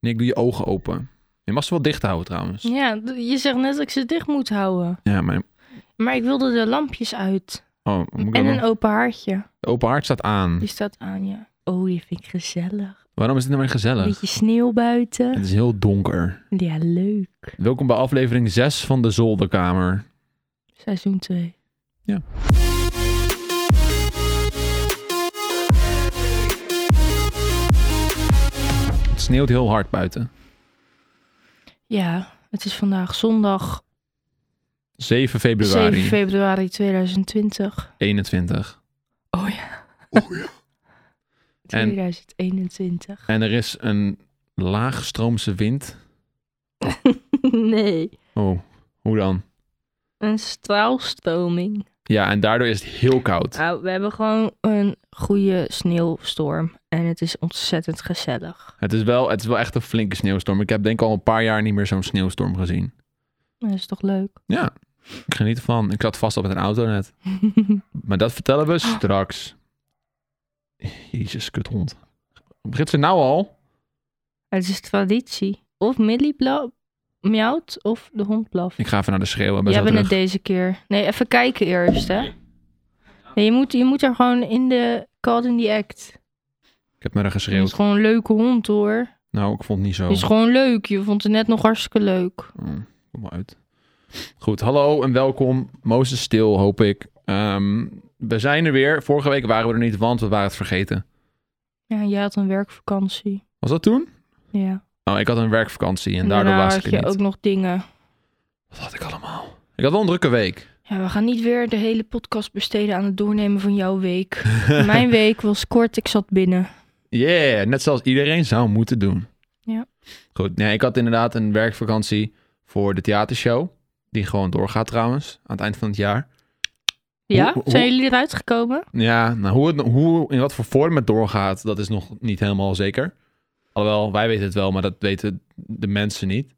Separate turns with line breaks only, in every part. Nick, doe je ogen open. Je mag ze wel dicht houden trouwens.
Ja, d- je zegt net dat ik ze dicht moet houden.
Ja, maar...
Maar ik wilde de lampjes uit.
Oh, moet ik
En
dan
een Dus-
nog-
open hartje.
De open haard staat aan.
Die staat aan, ja. Oh, die vind ik gezellig.
Waarom is dit nou weer
Een
gezellig?
beetje sneeuw buiten.
Het is heel donker.
Ja, leuk.
Welkom bij aflevering 6 van de Zolderkamer.
Seizoen 2.
Ja. Het sneeuwt heel hard buiten.
Ja, het is vandaag zondag
7 februari
7 februari 2020.
21.
Oh ja.
Oh ja. En-
2021.
En er is een laagstroomse wind.
nee,
Oh, hoe dan?
een straalstroming.
Ja, en daardoor is het heel koud.
Nou, we hebben gewoon een goede sneeuwstorm. En het is ontzettend gezellig.
Het is wel, het is wel echt een flinke sneeuwstorm. Ik heb denk ik al een paar jaar niet meer zo'n sneeuwstorm gezien.
Dat is toch leuk?
Ja, ik geniet ervan. Ik zat vast op met een auto net. Maar dat vertellen we straks. Jezus, kuthond. Begint ze nou al?
het is traditie. Of Millie bla- miauwt of de hond blaft.
Ik ga even naar de schreeuwen.
Jij
ben zo
bent het
terug.
deze keer. Nee, even kijken eerst, hè. Nee, je, moet, je moet er gewoon in de call in the act.
Ik heb naar haar
Het is
geschreeuwd.
gewoon een leuke hond, hoor.
Nou, ik vond het niet zo.
Het is gewoon leuk. Je vond het net nog hartstikke leuk.
Oh, kom maar uit. Goed, hallo en welkom. Mozes stil, hoop ik. Ehm, we zijn er weer. Vorige week waren we er niet, want we waren het vergeten.
Ja, jij had een werkvakantie.
Was dat toen?
Ja.
Oh, ik had een werkvakantie en daardoor
daarna
was ik
had
er
je
niet.
ook nog dingen.
Wat had ik allemaal? Ik had wel een drukke week.
Ja, we gaan niet weer de hele podcast besteden aan het doornemen van jouw week. Mijn week was kort, ik zat binnen.
Yeah, net zoals iedereen zou moeten doen.
Ja.
Goed, nee, ik had inderdaad een werkvakantie voor de theatershow. Die gewoon doorgaat trouwens, aan het eind van het jaar.
Ja?
hoe-
Zijn jullie eruit gekomen?
Ja, nou hoe, het, hoe in wat voor vorm het doorgaat, dat is nog niet helemaal zeker. Alhoewel, wij weten het wel, maar dat weten de mensen niet.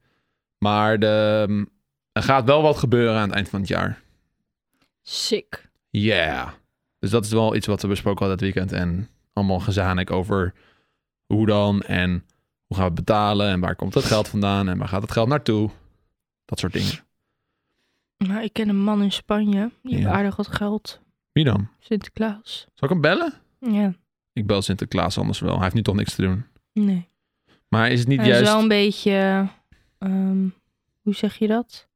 Maar de, ehm, er gaat wel wat gebeuren aan het eind van het jaar.
Sick.
Yeah. Dus dat is wel iets wat we besproken hadden dit weekend. En allemaal gezanik over hoe dan en hoe gaan we het betalen en waar komt dat geld vandaan en waar gaat het geld naartoe. Dat soort dingen.
Nou, ik ken een man in Spanje. Die heeft
Ja.
aardig wat geld.
Wie dan?
Sinterklaas.
Zal ik hem bellen?
Ja.
Ik bel Sinterklaas anders wel. Hij heeft nu toch niks te doen.
Nee.
Maar is het niet
Hij
juist...
is wel een beetje... ehm, hoe zeg je dat?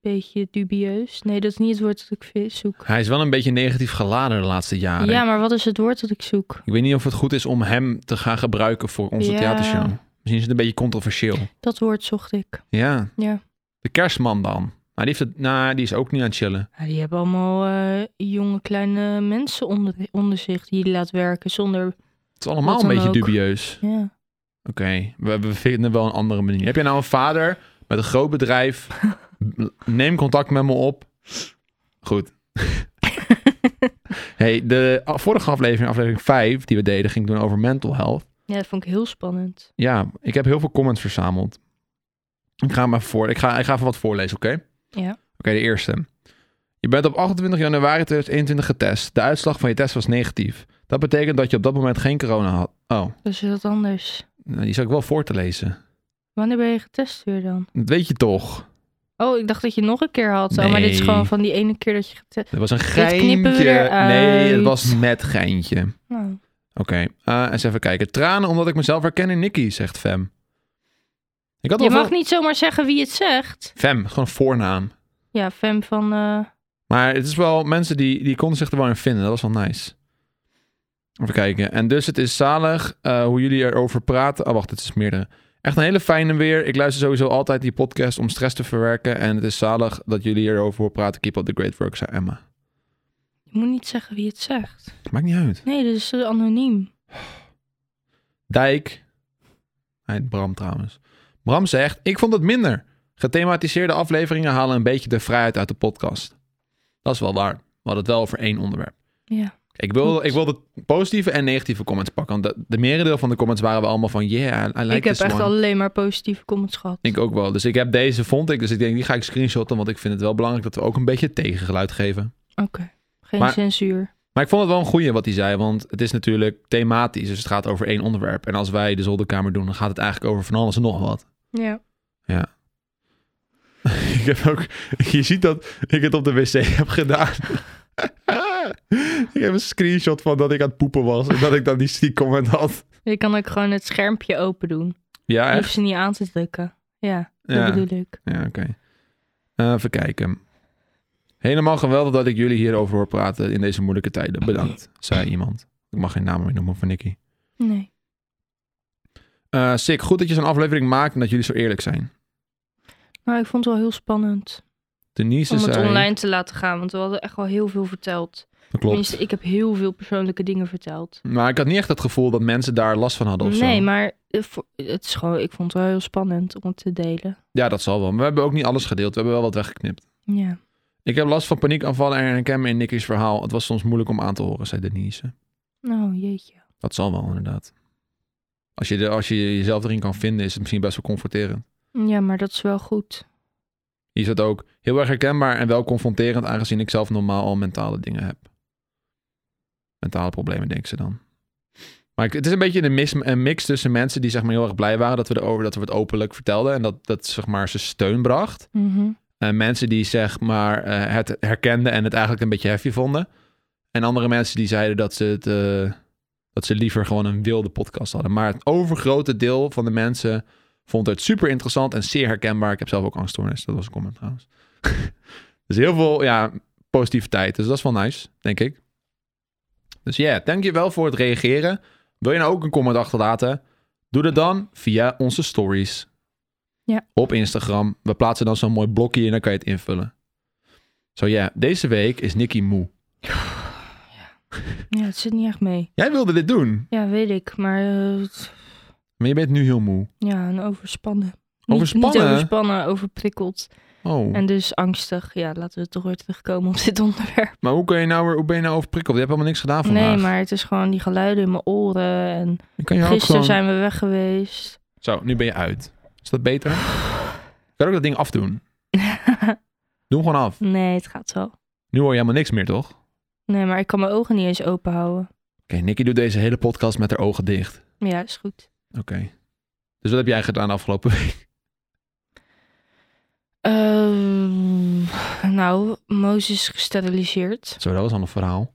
Beetje dubieus. Nee, dat is niet het woord dat ik vi- zoek.
Hij is wel een beetje negatief geladen de laatste jaren.
Ja, maar wat is het woord dat ik zoek?
Ik weet niet of het goed is om hem te gaan gebruiken voor onze
Ja.
theatershow. Misschien is het een beetje controversieel.
Dat woord zocht ik.
Ja.
Ja.
De kerstman dan. Maar die, heeft het, nou, die is ook niet aan het chillen.
Ja, die hebben allemaal eh, jonge kleine mensen onder, onder zich die je laat werken zonder...
Het is allemaal
Wat
een
dan
beetje
ook.
dubieus.
Ja.
Oké, we, we vinden wel een andere manier. Heb je nou een vader met een groot bedrijf? M- Neem contact met me op. Goed. hey, de a- vorige aflevering, aflevering 5, die we deden, ging toen over mental health.
ja, dat vond ik heel spannend.
Ja, ik heb heel veel comments verzameld. Ik ga hem even, voor, ik ga, ik ga even wat voorlezen, oké?
Ja.
Oké, de eerste. Je bent op 28 januari 2021 getest. De uitslag van je test was negatief. Dat betekent dat je op dat moment geen corona had. Oh,
Dus is dat anders.
nou, die zou ik wel voor te lezen.
Wanneer ben je getest weer dan?
Dat weet je toch?
Oh, ik dacht dat je nog een keer had. Oh, maar dit is
Nee.
gewoon van die ene keer dat je getest...
Dat was een
knippen we
geintje.
eruit.
Nee, het was met geintje.
Nou,
Oké, eh, eens even kijken. Tranen omdat ik mezelf herken in Nicky, zegt Fem. Ik had
je
al
mag
veel-
niet zomaar zeggen wie het zegt.
Fem, gewoon een voornaam.
Ja, fem van... eh,
Maar het is wel mensen die, die konden zich er wel in vinden. Dat was wel nice. Even kijken. En dus het is zalig eh, hoe jullie erover praten. Oh, wacht, het is meerdere. Echt een hele fijne weer. Ik luister sowieso altijd die podcast om stress te verwerken. En het is zalig dat jullie erover horen praten. Keep up the great work, zei Emma.
je moet niet zeggen wie het zegt.
Maakt niet uit.
Nee, dat is eh, anoniem.
Dijk. Hij heet Bram trouwens. Bram zegt, ik vond het minder. Gethematiseerde afleveringen halen een beetje de vrijheid uit de podcast. Dat is wel waar. We hadden het wel over één onderwerp.
Ja.
Ik wil,
Klopt.
ik wil de positieve en negatieve comments pakken. Want de, de merendeel van de comments waren we allemaal van... Yeah, I, I like
ik heb
this
echt
one.
alleen maar positieve comments gehad.
Ik ook wel. Dus ik heb deze, vond ik. Dus ik denk, die ga ik screenshotten. Want ik vind het wel belangrijk dat we ook een beetje tegengeluid geven.
Oké. Geen
Maar-
censuur.
Maar ik vond het wel een goeie wat hij zei, want het is natuurlijk thematisch. Dus het gaat over één onderwerp. En als wij de zolderkamer doen, dan gaat het eigenlijk over van alles en nog wat.
Ja.
ik heb ook, je ziet dat ik het op de wc heb gedaan. ik heb een screenshot van dat ik aan het poepen was en dat ik dan die stiek comment had.
Je kan ook gewoon het schermpje open doen.
Ja,
Je
echt?
hoeft ze niet aan te drukken. Ja, dat
Ja.
bedoel ik.
Ja, oké. Eh, even kijken. Helemaal geweldig dat ik jullie hierover hoor praten in deze moeilijke tijden. Bedankt, zei iemand. Ik mag geen naam meer noemen van Nicky.
Nee.
Eh Sik, goed dat je zo'n aflevering maakt en dat jullie zo eerlijk zijn.
Maar Nou, ik vond het wel heel spannend
Denise
om het
zei...
online te laten gaan. Want we hadden echt wel heel veel verteld.
Dat
Tenminste,
klopt.
ik heb heel veel persoonlijke dingen verteld.
Maar ik had niet echt het gevoel dat mensen daar last van hadden of zo.
Nee, maar eh, voor- het is gewoon, ik vond het wel heel spannend om het te delen.
Ja, dat zal wel. Maar we hebben ook niet alles gedeeld. We hebben wel wat weggeknipt.
Ja.
Ik heb last van paniekaanvallen en herken me in Nicky's verhaal. Het was soms moeilijk om aan te horen, zei Denise.
Nou, jeetje.
Dat zal wel, inderdaad. Als je, de, als je jezelf erin kan vinden, is het misschien best wel confronterend.
Ja, maar dat is wel goed.
Hier zat ook heel erg herkenbaar en wel confronterend, aangezien ik zelf normaal al mentale dingen heb. Mentale problemen, denken ze dan. Maar ik- het is een beetje een, mis, een mix tussen mensen die zeg maar heel erg blij waren dat we, erover, dat we het openlijk vertelden en dat dat zeg maar ze steun bracht.
Mhm.
En Eh, mensen die zeg maar eh, het herkenden en het eigenlijk een beetje heftig vonden. En andere mensen die zeiden dat ze, het, eh, dat ze liever gewoon een wilde podcast hadden. Maar het overgrote deel van de mensen vond het super interessant en zeer herkenbaar. Ik heb zelf ook angststoornis, dat was een comment trouwens. dus heel veel ja, positiviteit, dus dat is wel nice, denk ik. Dus ja, dankjewel voor het reageren. Wil je nou ook een comment achterlaten? Doe dat dan via onze stories op Instagram. We plaatsen dan zo'n mooi blokje en dan kan je het invullen. Zo ja, deze week is Nicky moe.
Ja, het zit niet echt mee.
Jij wilde dit doen,
Ja, weet ik. Maar eh, het-
maar je bent nu heel moe.
ja, een overspannen. Niet,
Overspannen?
niet overspannen, overprikkeld.
Oh,
En dus angstig. Ja, laten we toch weer terugkomen op dit onderwerp.
maar hoe, kan je nou, weer- hoe ben je nou overprikkeld? Je hebt helemaal niks gedaan vandaag.
Nee, maar het is gewoon die geluiden in mijn oren. En
Dan kan je ook
gisteren
gewoon...
zijn we weg geweest.
Zo, nu ben je uit. Is dat beter? Je kan ook dat ding afdoen. Doe hem gewoon af.
nee, het gaat wel.
Nu hoor je helemaal niks meer, toch? Oké,
Nee, maar ik kan mijn ogen niet eens open houden.
Nicky doet deze hele podcast met haar ogen dicht.
Ja, is goed.
Oké. Dus wat heb jij gedaan de afgelopen week?
Ehm, nou, Mozes is gesteriliseerd.
Zo, dat was al een verhaal.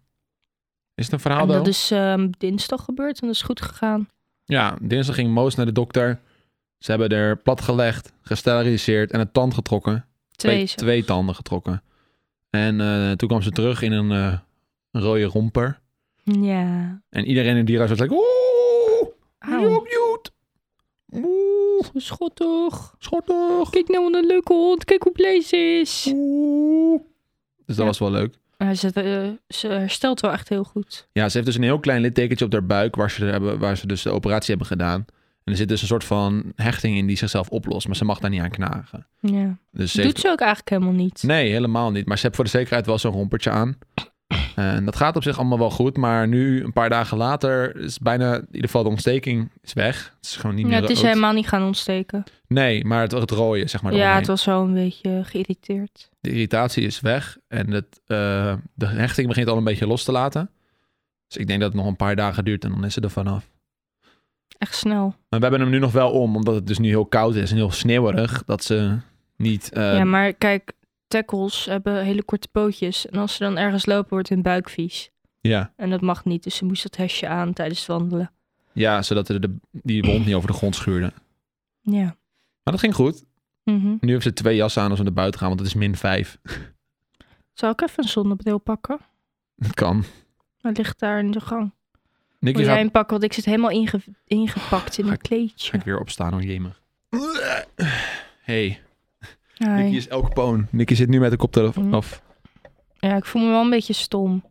Is het een verhaal
En
dan?
dat is ehm, dinsdag gebeurd en dat is goed gegaan.
Ja, dinsdag ging Moos naar de dokter. Ze hebben er platgelegd, gesteriliseerd en een tand getrokken.
Twee, zelfs.
twee tanden getrokken. En eh, toen kwam ze terug in een eh, een rode romper.
Ja.
En iedereen in het dierenhuis was like... Oeh,
Auw,
op mute. Oeh,
schottig.
schottig.
Kijk nou wat een leuke hond. Kijk hoe blij ze is.
Oeh. Dus dat
Ja.
was wel leuk.
Maar ze, eh, ze herstelt wel echt heel goed.
Ja, ze heeft dus een heel klein littekentje op haar buik... waar ze, er hebben, waar ze dus de operatie hebben gedaan. En er zit dus een soort van hechting in die zichzelf oplost. Maar ze mag daar niet aan knagen.
Ja.
Dus ze heeft
Doet ze ook eigenlijk helemaal niet.
Nee, helemaal niet. Maar ze heeft voor de zekerheid wel zo'n rompertje aan. En dat gaat op zich allemaal wel goed. Maar nu, een paar dagen later, is bijna in ieder geval de ontsteking is weg. Het is gewoon niet
ja,
meer
het is
rood.
helemaal niet gaan ontsteken.
Nee, maar het, het rooien, zeg maar.
Ja,
eromheen.
het was wel een beetje geïrriteerd.
De irritatie is weg. En het, eh, de hechting begint al een beetje los te laten. Dus ik denk dat het nog een paar dagen duurt en dan is ze er vanaf.
Echt snel.
Maar we hebben hem nu nog wel om, omdat het dus nu heel koud is en heel sneeuwerig. Dat ze niet... eh,
ja, maar kijk, tackles hebben hele korte pootjes. En als ze dan ergens lopen, wordt hun buik vies.
ja.
En dat mag niet, dus ze moest dat hesje aan tijdens het wandelen.
Ja, zodat er de, die wond niet over de grond schuurde.
Ja.
Maar dat ging goed.
Mhm.
Nu heeft ze twee jassen aan als we naar buiten gaan, want het is min 5.
Zal ik even een zonnebril pakken?
Het kan.
Hij ligt daar in de gang.
Nicky
Wil jij
gaat,
hem pakken? Want ik zit helemaal inge- ingepakt in een
ga
kleedje.
ik weer opstaan, oh jemig. Hey, Nicky
Hi.
is elke poon. Nicky zit nu met de koptelefoon
Mm.
af.
Ja, ik voel me wel een beetje stom.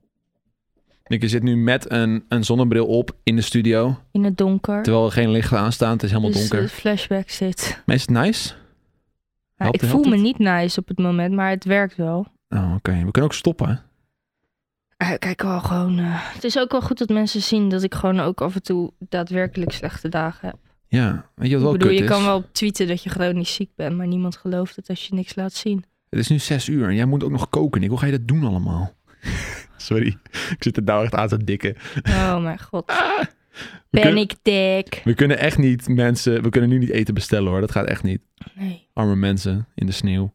Nicky zit nu met een, een zonnebril op in de studio.
In het donker.
Terwijl er geen lichten aanstaan. Het is helemaal
dus
donker.
eh, flashback zit.
Maar is het nice?
Ja,
Helpt-
ik voel
helpt
me
het?
niet nice op het moment, maar het werkt wel.
Oh, oké. We kunnen ook stoppen. hè?
Eh, Kijk, wel gewoon. eh, het is ook wel goed dat mensen zien dat ik gewoon ook af en toe daadwerkelijk slechte dagen heb.
Ja, weet je wat
Ik
wel
bedoel,
kut
je
is?
kan wel tweeten dat je chronisch ziek bent, maar niemand gelooft het als je niks laat zien.
Het is nu zes uur en jij moet ook nog koken, Nick. Hoe ga je dat doen allemaal? Sorry, ik zit er nou echt aan te dikken.
Oh mijn god.
We,
Ben
kun-
ik dik?
we kunnen echt niet mensen... We kunnen nu niet eten bestellen hoor. Dat gaat echt niet.
Nee.
Arme mensen in de sneeuw.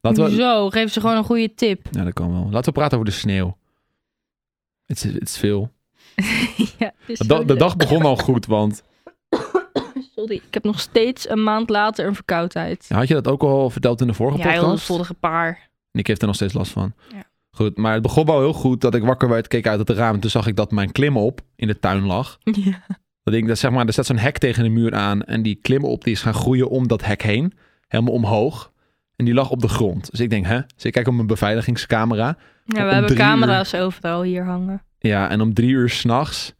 Laten we...
Zo, geef ze gewoon een goede tip.
Ja, dat kan wel. Laten we praten over de sneeuw. Het is, het is veel.
ja, het is
De,
zo
da- de
leuk.
dag begon al goed, want...
Sorry, ik heb nog steeds een maand later een verkoudheid.
Had je dat ook al verteld in de vorige
Ja, joh, dat
podcast?
vorige paar.
En ik heb er nog steeds last van.
Ja.
Goed, maar het begon wel heel goed dat ik wakker werd, keek uit het raam. Toen zag ik dat mijn klimop in de tuin lag.
Ja.
Dat ik, dat zeg maar, er staat zo'n hek tegen de muur aan. En die klimop die is gaan groeien om dat hek heen. Helemaal omhoog. En die lag op de grond. Dus ik denk, hè? Dus ik kijk op mijn beveiligingscamera.
Ja,
Om
we hebben
drie uur.
camera's overal hier hangen.
Ja, en om drie uur s'nachts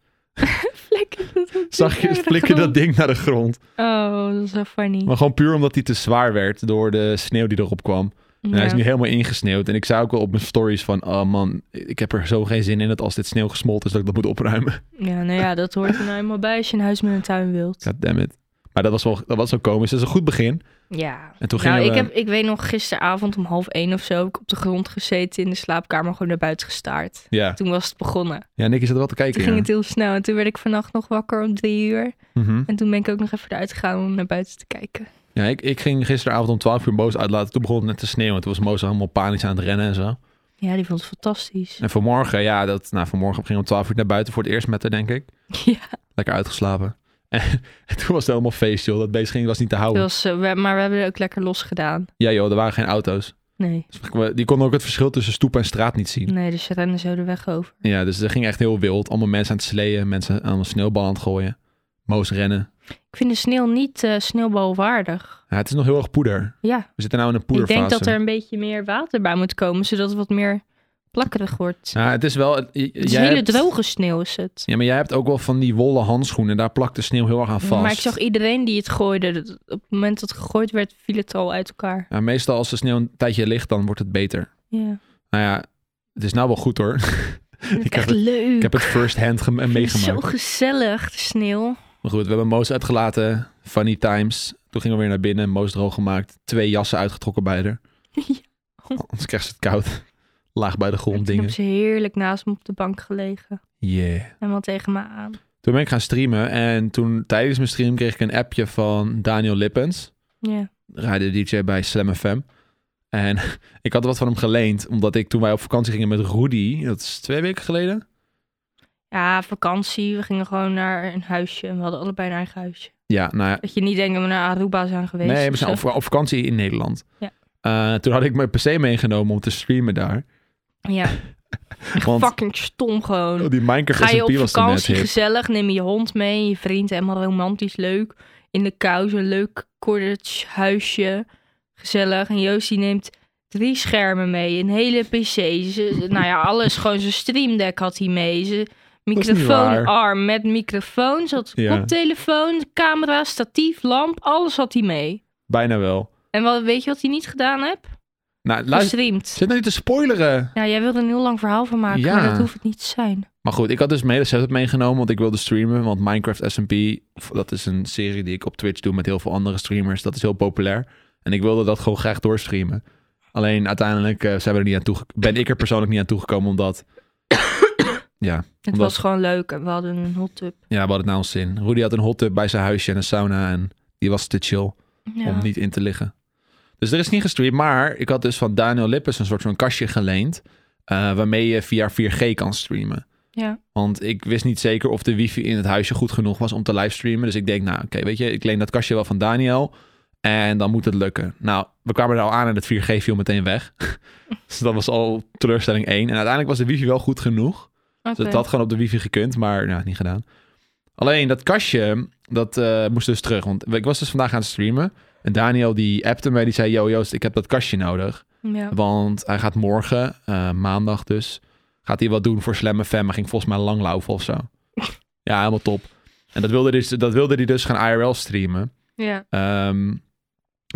Flikker dat op
zag je
de
flikker dat
grond.
ding naar de grond.
Oh, dat is wel funny.
Maar gewoon puur omdat die te zwaar werd door de sneeuw die erop kwam. En hij is
Ja.
nu helemaal ingesneeuwd. En ik zei ook al op mijn stories van... Oh man, ik heb er zo geen zin in dat als dit sneeuw gesmolten is... dat ik dat moet opruimen.
Ja, nou ja, dat hoort er nou eenmaal bij als je een huis met een tuin wilt.
God damn it. Maar dat was wel, dat was wel komisch. Dat is een goed begin.
Ja.
En toen
Nou,
gingen
ik,
we...
heb, ik weet nog gisteravond om half één of zo heb ik op de grond gezeten in de slaapkamer, gewoon naar buiten gestaard.
Ja.
Toen was het begonnen.
ja, Nicky zat wel te kijken.
Toen ging
ja.
het heel snel en toen werd ik vannacht nog wakker om drie uur.
Mhm.
En toen ben ik ook nog even eruit gegaan om naar buiten te kijken.
Ja, ik, ik ging gisteravond om 12 uur Moos uitlaten. Toen begon het net te sneeuwen. En toen was Moos helemaal panisch aan het rennen en zo.
Ja, die vond het fantastisch.
En vanmorgen, ja, dat, nou, vanmorgen ging ik om 12 uur naar buiten voor het eerst met haar, denk ik.
Ja,
Lekker uitgeslapen. En, toen was het helemaal feest, joh. Dat beest ging was niet te
dat
houden.
was, eh, we- maar we hebben het ook lekker los gedaan.
Ja, joh, er waren geen auto's.
Nee,
Dus we- die konden ook het verschil tussen stoep en straat niet zien.
nee, dus ze rennen zo de weg over.
Ja, dus er ging echt heel wild. Allemaal mensen aan het sleeën, mensen aan een sneeuwbal aan het gooien. Moos rennen.
Ik vind de sneeuw niet eh, sneeuwbalwaardig.
Ja, het is nog heel erg poeder.
Ja,
We zitten nou in een
Ik
poederfase.
denk dat er een beetje meer water bij moet komen, zodat het wat meer plakkerig wordt.
Ja, het is wel... Het, j-
het is
jij
hele
hebt-
droge sneeuw is het.
Ja, maar jij hebt ook wel van die wollen handschoenen. Daar plakt de sneeuw heel erg aan vast.
Maar ik zag iedereen die het gooide. dat- Op het moment dat het gegooid werd, viel het al uit elkaar.
Ja, meestal als de sneeuw een tijdje ligt, dan wordt het beter.
Ja.
Nou ja, het is nou wel goed hoor.
Ik
heb
echt
het-
leuk.
Ik heb het first hand gem-
Ik vind het
meegemaakt.
Zo gezellig, de sneeuw.
Maar goed, we hebben Moos uitgelaten. Funny times. Toen gingen we weer naar binnen. Moos droog gemaakt. Twee jassen uitgetrokken bij haar.
Ja.
Anders krijgt ze het koud. Laag bij de grond
Ik heb
dingen.
ze heerlijk naast me op de bank gelegen.
Yeah.
En wat tegen me aan.
Toen ben ik gaan streamen. En toen tijdens mijn stream kreeg ik een appje van Daniel Lippens.
Ja.
Radio DJ bij Slam FM. En ik had wat van hem geleend. Omdat ik toen wij op vakantie gingen met Rudy. Dat is twee weken geleden.
ja, vakantie. We gingen gewoon naar een huisje. En we hadden allebei een eigen huisje.
Ja, nou ja,
Dat je niet denkt dat we naar Aruba zijn geweest.
Nee, we
of
zijn
zo.
op, op vakantie in Nederland.
Ja.
Eh, toen had ik mijn PC meegenomen om te streamen daar.
Ja, echt
nou, Want
fucking stom gewoon.
oh, die Minecraft
Ga je
SMP
op
was toen net
vakantie
hip.
gezellig, neem je hond mee, je vriend, helemaal romantisch, leuk. In de kou, zo'n leuk cottage huisje, gezellig. En Joost die neemt drie schermen mee, een hele pc, ze- nou ja, alles, gewoon zijn streamdeck had hij mee. Zijn
is niet waar.
microfoonarm met microfoon, zat
Ja.
koptelefoon, camera, statief, lamp, alles had hij mee.
Bijna wel.
En wat, weet je wat hij niet gedaan heeft?
Nou, luister,
Gestreamd.
zit nou niet te spoileren.
Nou, jij wilde een heel lang verhaal van maken,
Ja.
maar dat hoeft het niet te zijn.
Maar goed, ik had dus mijn hele setup meegenomen, want ik wilde streamen. Want Minecraft SMP, of dat is een serie die ik op Twitch doe met heel veel andere streamers. Dat is heel populair. En ik wilde dat gewoon graag doorstreamen. Alleen uiteindelijk eh, zijn we er niet aan toege- ben ik er persoonlijk niet aan toegekomen, omdat... ja,
Het
Omdat-
was gewoon leuk en we hadden een hot tub.
ja, we hadden het nou ons zin. Rudy had een hot tub bij zijn huisje en een sauna en die was te chill.
Ja.
om niet in te liggen. Dus er is niet gestreamd, maar ik had dus van Daniel Lippes een soort van kastje geleend, eh, waarmee je via 4G kan streamen.
Ja.
Want ik wist niet zeker of de wifi in het huisje goed genoeg was om te livestreamen. Dus ik denk, nou oké, weet je, ik leen dat kastje wel van Daniel en dan moet het lukken. Nou, we kwamen er al aan en het 4G viel meteen weg. dus dat was al teleurstelling 1. En uiteindelijk was de wifi wel goed genoeg.
Oké.
Dus dat had gewoon op de wifi gekund, maar nou, niet gedaan. Alleen dat kastje, dat eh, moest dus terug. Want ik was dus vandaag aan het streamen. En Daniel die appte mij, die zei... Yo Joost, ik heb dat kastje nodig.
Ja.
Want hij gaat morgen, eh, maandag dus... gaat hij wat doen voor Slam FM. Hij ging volgens mij langlaufen of zo. ja, helemaal top. En dat wilde hij, dus- dat wilde hij dus gaan IRL streamen.
ja.
Ehm,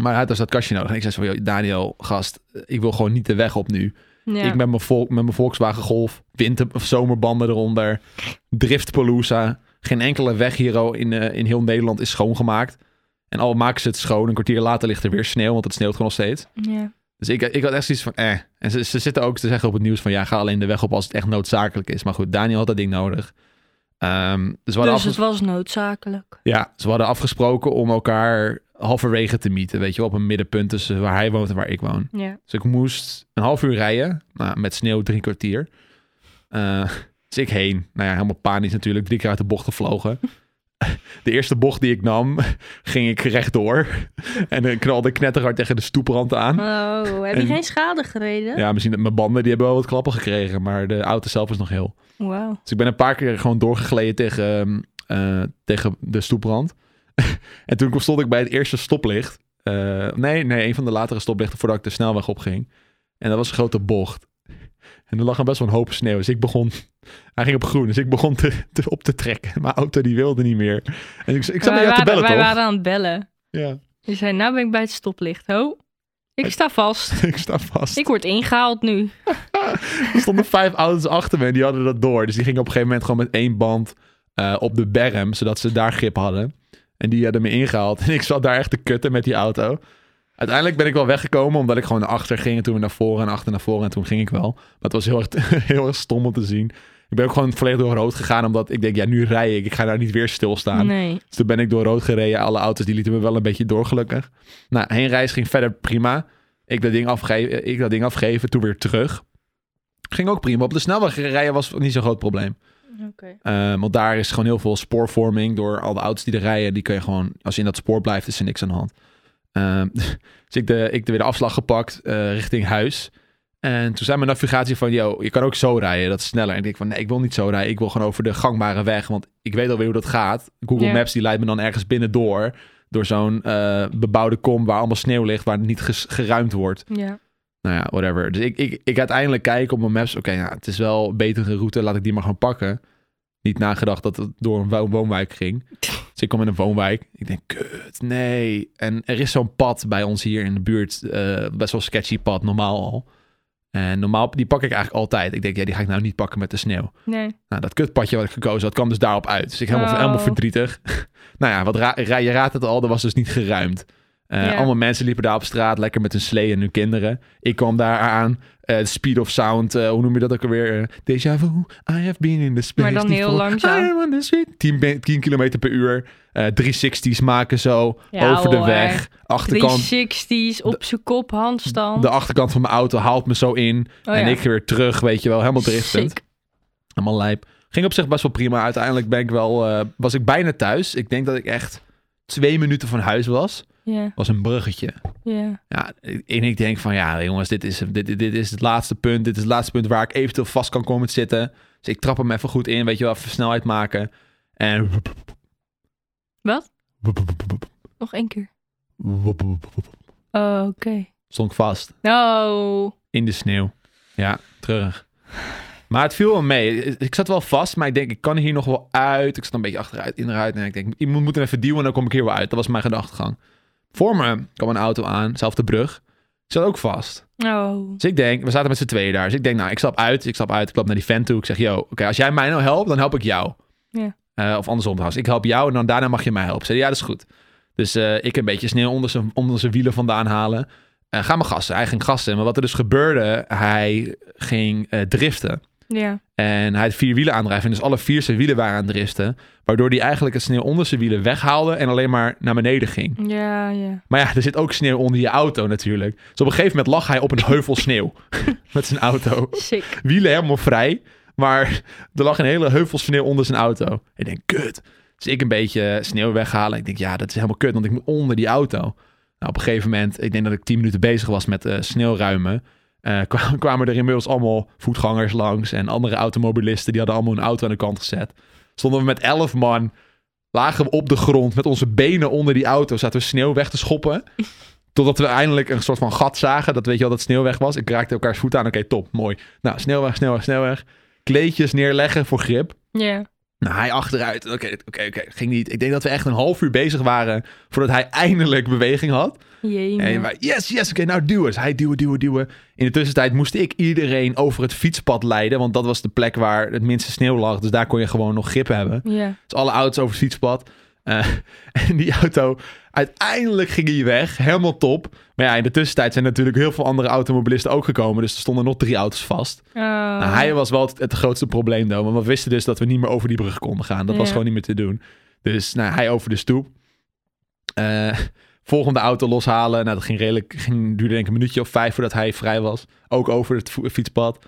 maar hij had dus dat kastje nodig. En ik zei zo van... "Yo, Daniel, gast, ik wil gewoon niet de weg op nu.
Ja.
Ik met mijn, vol- met mijn Volkswagen Golf, winter- of zomerbanden eronder, driftpalooza. Geen enkele weg hier al in, eh, in heel Nederland is schoongemaakt. En al maken ze het schoon, een kwartier later ligt er weer sneeuw, want het sneeuwt gewoon nog steeds.
ja.
Dus ik, ik had echt zoiets van, eh. En ze, ze zitten ook te zeggen op het nieuws van, ja, ga alleen de weg op als het echt noodzakelijk is. Maar goed, Daniel had dat ding nodig. Ehm, dus we hadden
Dus
afges-
het was noodzakelijk.
ja, ze hadden afgesproken om elkaar halverwege te mieten, weet je wel, op een middenpunt tussen waar hij woont en waar ik woon.
Ja.
Dus ik moest een half uur rijden, nou, met sneeuw drie kwartier. Eh, dus ik heen, nou ja, helemaal panisch natuurlijk, drie keer uit de bocht gevlogen. De eerste bocht die ik nam, ging ik rechtdoor en eh, knalde knetterhard tegen de stoeprand aan.
Oh, heb je
Hm? En-
geen schade gereden?
Ja, misschien dat mijn banden, die hebben wel wat klappen gekregen, maar de auto zelf is nog heel.
Wauw.
Dus ik ben een paar keer gewoon doorgegleden tegen, ehm, eh, tegen de stoeprand. en toen stond ik bij het eerste stoplicht. Eh, nee, nee, een van de latere stoplichten voordat ik de snelweg opging. En dat was een grote bocht. En er lag een best wel een hoop sneeuw. Dus ik begon... Hij ging op groen, dus ik begon te, te- op te trekken. Mijn auto die wilde niet meer. En ik, ik zat naar
Wij,
jou te
waren,
bellen,
wij
toch?
waren aan het bellen.
Ja,
Je zei, nou ben ik bij het stoplicht. Ho, ik sta vast.
ik sta vast.
Ik word ingehaald nu.
Er stonden vijf auto's achter me en die hadden dat door. Dus die gingen op een gegeven moment gewoon met één band eh, op de berm, zodat ze daar grip hadden. En die hadden me ingehaald. En ik zat daar echt te kutten met die auto. Uiteindelijk ben ik wel weggekomen, omdat ik gewoon naar achter ging. En toen weer naar voren en achter naar voren. En toen ging ik wel. Maar het was heel erg, heel erg stom om te zien. Ik ben ook gewoon volledig door rood gegaan, omdat ik denk, ja, nu rij ik. Ik ga daar niet weer stilstaan.
Nee.
Dus toen ben ik door rood gereden. Alle auto's die lieten me wel een beetje door, gelukkig. Nou, heenreis ging verder prima. Ik dat ding, afge- ik dat ding afgeven, toen weer terug. Ging ook prima. Op de snelweg rijden was niet zo'n groot probleem.
Oké.
Eh, want daar is gewoon heel veel spoorvorming door al de auto's die er rijden. Die kun je gewoon, als je in dat spoor blijft, is er niks aan de hand. Ehm, dus ik de, ik de weer de afslag gepakt eh, richting huis. En toen zei mijn navigatie van, yo, je kan ook zo rijden, dat is sneller. En ik denk van, nee, ik wil niet zo rijden. Ik wil gewoon over de gangbare weg, want ik weet alweer hoe dat gaat. Google
Ja.
Maps, die leidt me dan ergens binnendoor. Door zo'n eh, bebouwde kom waar allemaal sneeuw ligt, waar niet ges- geruimd wordt.
Ja.
Nou ja, whatever. Dus ik, ik, ik uiteindelijk kijk op mijn maps. Oké, nou, het is wel een betere route. Laat ik die maar gaan pakken. Niet nagedacht dat het door een wo- woonwijk ging. Dus ik kom in een woonwijk. Ik denk, kut, nee. En er is zo'n pad bij ons hier in de buurt. eh, best wel sketchy pad, normaal al. En normaal, die pak ik eigenlijk altijd. Ik denk, ja, die ga ik nou niet pakken met de sneeuw.
Nee.
Nou, dat kutpadje wat ik gekozen had, kwam dus daarop uit. Dus ik helemaal,
Oh.
helemaal verdrietig. nou ja, wat ra- ra- je raadt het al, er was dus niet geruimd. Eh,
Ja.
Allemaal mensen liepen daar op straat, lekker met hun slee en hun kinderen. Ik kwam daar aan, eh, speed of sound, eh, hoe noem je dat ook alweer? Eh, Déjà vu, I have been in the space
Maar dan heel
before.
langzaam.
I am on the street. 10, be- 10 kilometer per uur, eh 360's maken zo,
Ja,
over de
hoor.
weg. Achterkant,
360's op zijn kop, handstand.
de achterkant van mijn auto haalt me zo in.
Oh
en
ja.
ik weer terug, weet je wel, helemaal driftend.
Sick.
Helemaal lijp. Ging op zich best wel prima. Uiteindelijk ben ik wel, eh, was ik bijna thuis. Ik denk dat ik echt twee minuten van huis was.
Ja,
Was een bruggetje.
ja.
Ja, en ik denk van ja, jongens, dit is, dit, dit, dit is het laatste punt. Dit is het laatste punt waar ik eventueel vast kan komen te zitten. Dus ik trap hem even goed in, weet je wel, even snelheid maken. En
Wat? Nog één keer. Oh, oké.
stond ik vast.
Nou.
In de sneeuw. Ja, terug. Maar het viel wel mee. Ik zat wel vast, maar ik denk, ik kan hier nog wel uit. Ik zat een beetje achteruit, in eruit. En ik denk, ik moet, moet er even duwen en dan kom ik hier wel uit. Dat was mijn gedachtegang. Voor me kwam een auto aan, zelfde brug. Ik zat ook vast.
Oh.
Dus ik denk, we zaten met z'n tweeën daar. Dus ik denk, nou, ik stap uit, ik stap uit. Ik klap naar die vent toe. Ik zeg, yo, oké, als jij mij nou helpt, dan help ik jou.
Ja.
Eh, of andersom trouwens. Ik help jou en dan daarna mag je mij helpen. Zei, hij, ja, dat is goed. Dus eh, ik een beetje sneeuw onder zijn, onder zijn wielen vandaan halen. Eh ga maar gassen. Hij ging gassen. Maar wat er dus gebeurde, hij ging eh, driften.
Ja.
En hij had vier wielen aandrijven. Dus alle vier zijn wielen waren aan het driften. Waardoor hij eigenlijk het sneeuw onder zijn wielen weghaalde en alleen maar naar beneden ging.
Ja, ja.
Maar ja, er zit ook sneeuw onder je auto natuurlijk. Dus op een gegeven moment lag hij op een heuvel sneeuw met zijn auto
Sick.
wielen helemaal vrij. Maar er lag een hele heuvel sneeuw onder zijn auto. Ik denk, kut. Dus ik een beetje sneeuw weghalen. Ik denk, ja, dat is helemaal kut, want ik moet onder die auto. Nou, op een gegeven moment, ik denk dat ik tien minuten bezig was met eh sneeuwruimen. eh, kwa- kwamen er inmiddels allemaal voetgangers langs en andere automobilisten. Die hadden allemaal hun auto aan de kant gezet. Stonden we met elf man, lagen we op de grond met onze benen onder die auto. Zaten we sneeuw weg te schoppen. Totdat we eindelijk een soort van gat zagen. Dat weet je wel, dat sneeuw weg was. Ik raakte elkaars voet aan. Oké, top, mooi. Nou, snel weg, snel weg, snel weg. Kleedjes neerleggen voor grip.
Ja.
Nou, hij achteruit. Oké, oké, oké. Ging niet. Ik denk dat we echt een half uur bezig waren voordat hij eindelijk beweging had. En
Jee.
wij, yes, yes, oké, nou duwen. Dus hij duwen, duwen, duwen. In de tussentijd moest ik iedereen over het fietspad leiden, want dat was de plek waar het minste sneeuw lag. Dus daar kon je gewoon nog grip hebben.
Ja.
Dus alle auto's over het fietspad. Eh, en die auto, Uiteindelijk ging hij weg. Helemaal top. Maar ja, in de tussentijd zijn natuurlijk heel veel andere automobilisten ook gekomen. Dus er stonden nog drie auto's vast.
Oh.
Nou, hij was wel het, het grootste probleem, though, want we wisten dus dat we niet meer over die brug konden gaan. Dat was
Ja.
gewoon niet meer te doen. Dus nou, hij over de stoep. Eh, volgende auto loshalen. Nou, dat ging redelijk, ging, duurde denk ik een minuutje of vijf voordat hij vrij was. Ook over het vo- fietspad.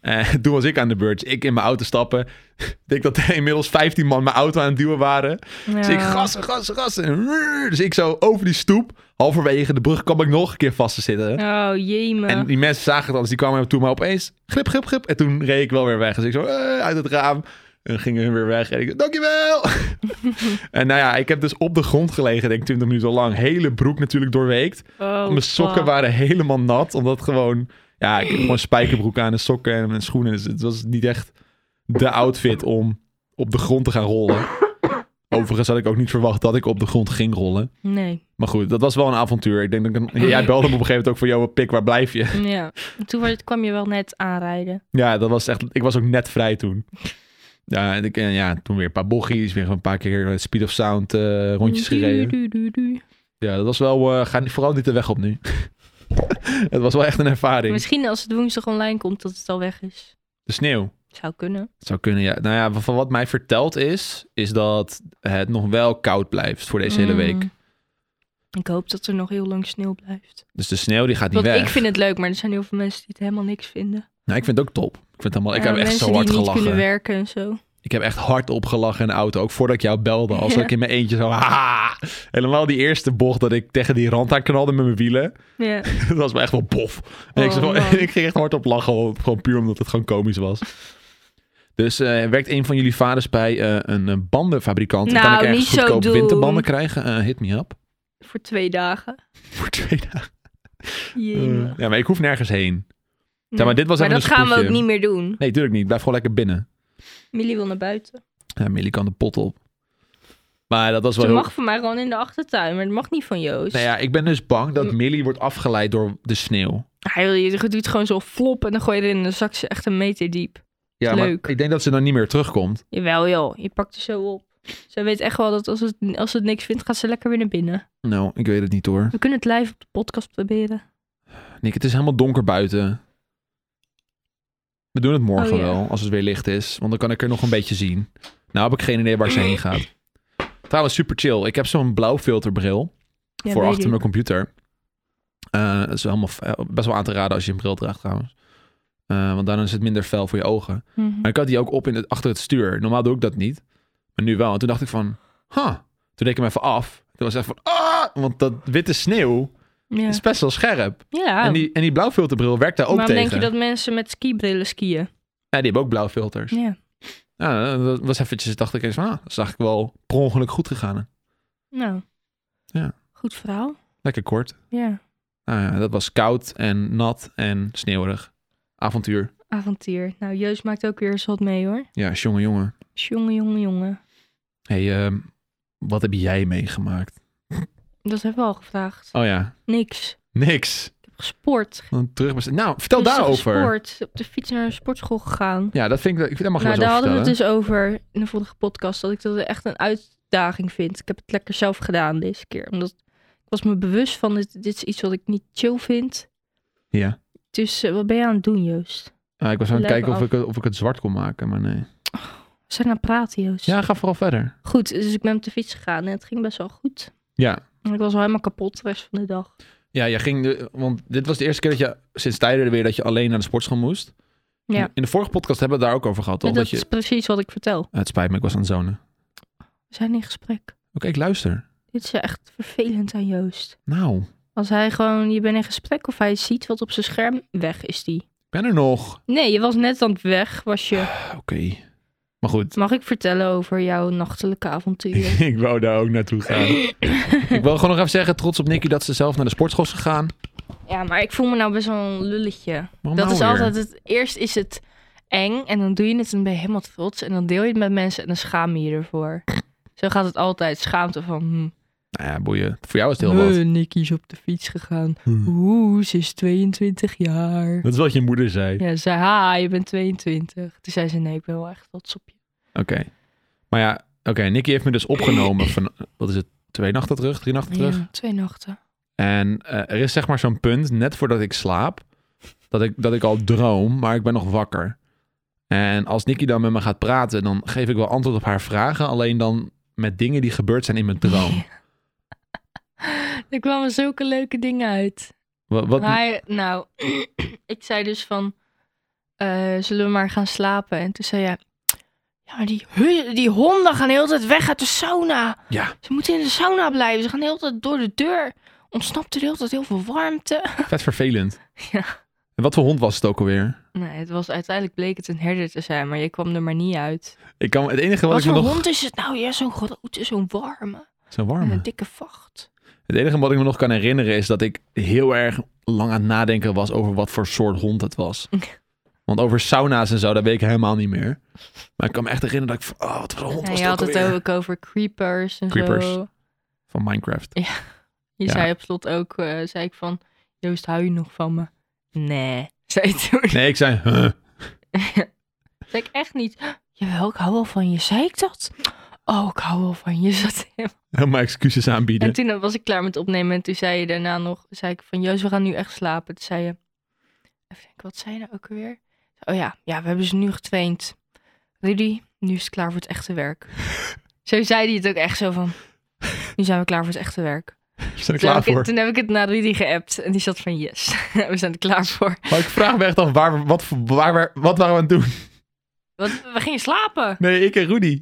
Eh, toen was ik aan de beurt. Dus Ik in mijn auto stappen. Ik denk dat er inmiddels 15 man mijn auto aan het duwen waren. Dus ik gassen, gassen, gassen. En rrr. Dus ik zo over die stoep. Halverwege de brug kwam ik nog een keer vast te zitten.
Oh, jemig.
En die mensen zagen het al, dus die kwamen toen maar opeens. Grip, grip, grip. En toen reed ik wel weer weg. Dus ik zo eh, uit het raam. En gingen hun weer weg. En ik dankjewel. en nou ja, ik heb dus op de grond gelegen, denk ik, 20 minuten lang. Hele broek natuurlijk doorweekt.
Oh,
Mijn sokken
fuck.
waren helemaal nat. Omdat gewoon, ja, ik heb gewoon spijkerbroek aan en sokken en mijn schoenen. Dus het was niet echt de outfit om op de grond te gaan rollen. Overigens had ik ook niet verwacht dat ik op de grond ging rollen.
Nee.
Maar goed, dat was wel een avontuur. Ik denk dat ik een- Jij belde me op een gegeven moment ook voor jou, pik, waar blijf je?
Ja. Toen werd- kwam je wel net aanrijden.
Ja, dat was echt. Ik was ook net vrij toen. Ja, en, ik, en ja, toen weer een paar bochies, weer een paar keer eh, speed of sound eh, rondjes gereden.
Du- du- du- du.
Ja, dat was wel. eh, ga niet- vooral niet de weg op nu. het was wel echt een ervaring.
Misschien als het woensdag online komt dat het al weg is.
De sneeuw.
Zou kunnen.
Het zou kunnen, ja. Nou ja, van wat mij verteld is, is dat het nog wel koud blijft voor deze hele week.
Mm. Ik hoop dat er nog heel lang sneeuw blijft.
Dus de sneeuw die gaat niet
Want
weg.
ik vind het leuk, maar er zijn heel veel mensen die het helemaal niks vinden.
Nou, ik vind het ook top. Ik, vind het helemaal, ik
Ja,
heb echt
mensen
zo hard
die niet kunnen
gelachen.
werken en zo.
Ik heb echt hard opgelachen in de auto. Ook voordat ik jou belde. Als
Ja.
ik in mijn eentje zo... Haha! Helemaal die eerste bocht dat ik tegen die rand aan knalde met mijn wielen.
Ja.
dat was me echt wel bof. En ik,
Oh,
zei van-
man.
ik ging echt hard op lachen. hoor. Gewoon puur omdat het gewoon komisch was. Dus eh, werkt een van jullie vaders bij eh, een eh, bandenfabrikant? en kan
Nou,
ik ergens
niet zo
goedkoop
doen.
winterbanden krijgen? Eh, hit me up.
Voor twee dagen.
Voor twee dagen.
Jemig.
Eh, Ja, maar ik hoef nergens heen.
Nee.
maar dit was
maar
even
dat
een
gaan we ook
spoedje.
niet meer doen.
Nee, tuurlijk niet. Blijf gewoon lekker binnen.
Millie wil naar buiten.
Ja, Millie kan de pot op. Maar dat was wel
Ze
heel...
mag van mij gewoon in de achtertuin, maar dat mag niet van Joost.
Nou ja, ik ben dus bang dat
Mm.
Millie wordt afgeleid door de sneeuw.
Hij wil, je doet gewoon zo flop en dan gooi je erin en dan zakt ze echt een meter diep.
Ja,
Leuk.
maar ik denk dat ze dan niet meer terugkomt.
Jawel joh, je pakt er zo op. Ze weet echt wel dat als het, als het niks vindt, gaat ze lekker weer naar binnen.
Nou, ik weet het niet hoor.
We kunnen het live op de podcast proberen.
Nick, het is helemaal donker buiten. We doen het morgen
Oh, ja.
wel, als het weer licht is. Want dan kan ik er nog een beetje zien. Nou heb ik geen idee waar ze heen gaat. Trouwens, super chill. Ik heb zo'n blauw filterbril
Ja,
voor
weet
achter
ik.
mijn computer. Eh, dat is wel helemaal, eh, best wel aan te raden als je een bril draagt trouwens. Eh, want dan is het minder fel voor je ogen.
Mhm.
Maar ik had die ook op in het, achter het stuur. Normaal doe ik dat niet. Maar nu wel. En toen dacht ik van, huh. Toen deed ik hem even af. Toen was ik echt van, ah! Want dat witte sneeuw
Ja.
is best wel scherp.
Ja,
En, die, en die blauwfilterbril werkt daar ook
waarom
tegen.
denk je dat mensen met skibrillen skiën?
Ja, die hebben ook blauwe filters.
Ja.
Ja, dat was eventjes, dacht ik eens van, ah, dat zag ik wel per ongeluk goed gegaan.
Nou.
Ja.
Goed verhaal.
Lekker kort.
Ja.
Nou ja, dat was koud en nat en sneeuwig. Avontuur.
Avontuur. Nou, Joost maakt ook weer eens wat mee hoor.
Ja, jongen, jongen.
Jongen, jongen, jongen.
hey, ehm, wat heb jij meegemaakt?
Dat hebben we al gevraagd.
Oh ja,
Niks.
niks.
Ik heb gesport.
Dan Terug nou, vertel
Dus
daarover.
gesport. Op de fiets naar een sportschool gegaan.
Ja, dat vind ik, ik vind, daar mag je
nou,
wel
daar
eens
hadden
over
we het
vertellen.
dus over in de vorige podcast. Dat ik dat echt een uitdaging vind. Ik heb het lekker zelf gedaan deze keer. Omdat ik was me bewust van dit, dit is iets wat ik niet chill vind.
Ja.
Dus eh, wat ben je aan het doen, Joost?
Ah, ik was aan het
Leuk
kijken of
af.
ik, het- of ik het zwart kon maken, maar nee.
We zijn aan het praten, Joost.
Ja, ga vooral verder.
Goed, dus ik ben op de fiets gegaan en het ging best wel goed.
Ja,
En ik was al helemaal kapot de rest van de dag.
Ja, jij ging. De, want dit was de eerste keer dat je sinds tijden weer dat je alleen naar de sportschool moest.
Ja.
In, in de vorige podcast hebben we het daar ook over gehad, toch?
En
Dat
dat
je,
is precies wat ik vertel.
Ah, het spijt me, ik was aan het zonen. Oké,
We zijn in gesprek.
ik luister.
Dit is echt vervelend aan Joost.
Nou, ik
Als hij gewoon, je bent in gesprek of hij ziet wat op zijn scherm, weg is die.
ben er nog. Ah,
Nee, je was net aan het weg, was je.
Oké. Maar goed,
Mag ik vertellen over jouw nachtelijke avonturen?
ik wou daar ook naartoe gaan. ik wil gewoon nog even zeggen, trots op Nicky dat ze zelf naar de sportschool is gegaan.
ja, maar ik voel me nou best wel een lulletje.
Waarom
Dat
nou
is
weer?
altijd het, eerst is het eng en dan doe je het en ben je helemaal trots. En dan deel je het met mensen en dan schaam je je ervoor. Zo gaat het altijd, schaamte van, hm,
Nou ja, boeien. Voor jou is het heel wat.
eh, Nicky is op de fiets gegaan. Oeh, ze is 22 jaar.
Dat is wat je moeder zei.
Ja, ze zei, ha, je bent 22. Toen zei ze, nee, ik ben wel echt trots op je.
Oké. Maar ja, oké. Nicky heeft me dus opgenomen van, wat is het, twee nachten terug, drie nachten terug.
Ja, twee nachten.
En eh, er is zeg maar zo'n punt, net voordat ik slaap, dat ik, dat ik al droom, maar ik ben nog wakker. En als Nikki dan met me gaat praten, dan geef ik wel antwoord op haar vragen, alleen dan met dingen die gebeurd zijn in mijn droom.
Er kwamen zulke leuke dingen uit.
Wat, wat,
Maar, nou, ik zei dus van, eh, zullen we maar gaan slapen? En toen zei jij, ja, maar die, hu- die honden gaan heel de tijd weg uit de sauna.
ja,
Ze moeten in de sauna blijven. Ze gaan heel de tijd door de deur. Ontsnapt er heel de tijd heel veel warmte.
vet vervelend.
Ja.
En wat voor hond was het ook alweer?
Nee, het was uiteindelijk bleek het een herder te zijn, maar je kwam er maar niet uit.
Ik kan, het enige wat,
Wat
ik
voor
me nog...
hond is het nou? Ja, zo'n grote, zo'n warme.
Zo
En
warm.
een dikke vacht.
Het enige wat ik me nog kan herinneren is dat ik heel erg lang aan het nadenken was over wat voor soort hond het was. Want over sauna's en zo, dat weet ik helemaal niet meer. Maar ik kan me echt herinneren dat ik van, oh, wat voor hond
En
was
je
het
had
ook
het
alweer?
ook over creepers en
Creepers.
zo.
Van Minecraft.
Je
Ja.
zei op slot ook, eh, zei ik van, Joost, hou je nog van me? Nee, zei je toen.
Nee, ik zei, huh.
Zei ik echt niet. Jawel, ik hou wel van je. Zei ik dat? Oh, ik hou wel van je. Zat helemaal-
helemaal excuses aanbieden.
en toen was ik klaar met opnemen en toen zei je daarna nog, zei ik van, Joost, we gaan nu echt slapen. Toen zei je, even denken, wat zei je nou ook weer? Oh ja, ja, we hebben ze nu getraind. Rudy, nu is het klaar voor het echte werk. zo zei hij het ook echt zo van, nu zijn we klaar voor het echte werk.
We zijn er
Toen
klaar
heb, ik, het-
voor.
toen heb ik het naar Rudy geappt en die zat van yes, we zijn er klaar voor.
Maar ik vraag me echt af, waar, we- wat, voor- waar, waar- wat waren we aan het doen?
Want we gingen slapen.
Nee, ik en Rudy.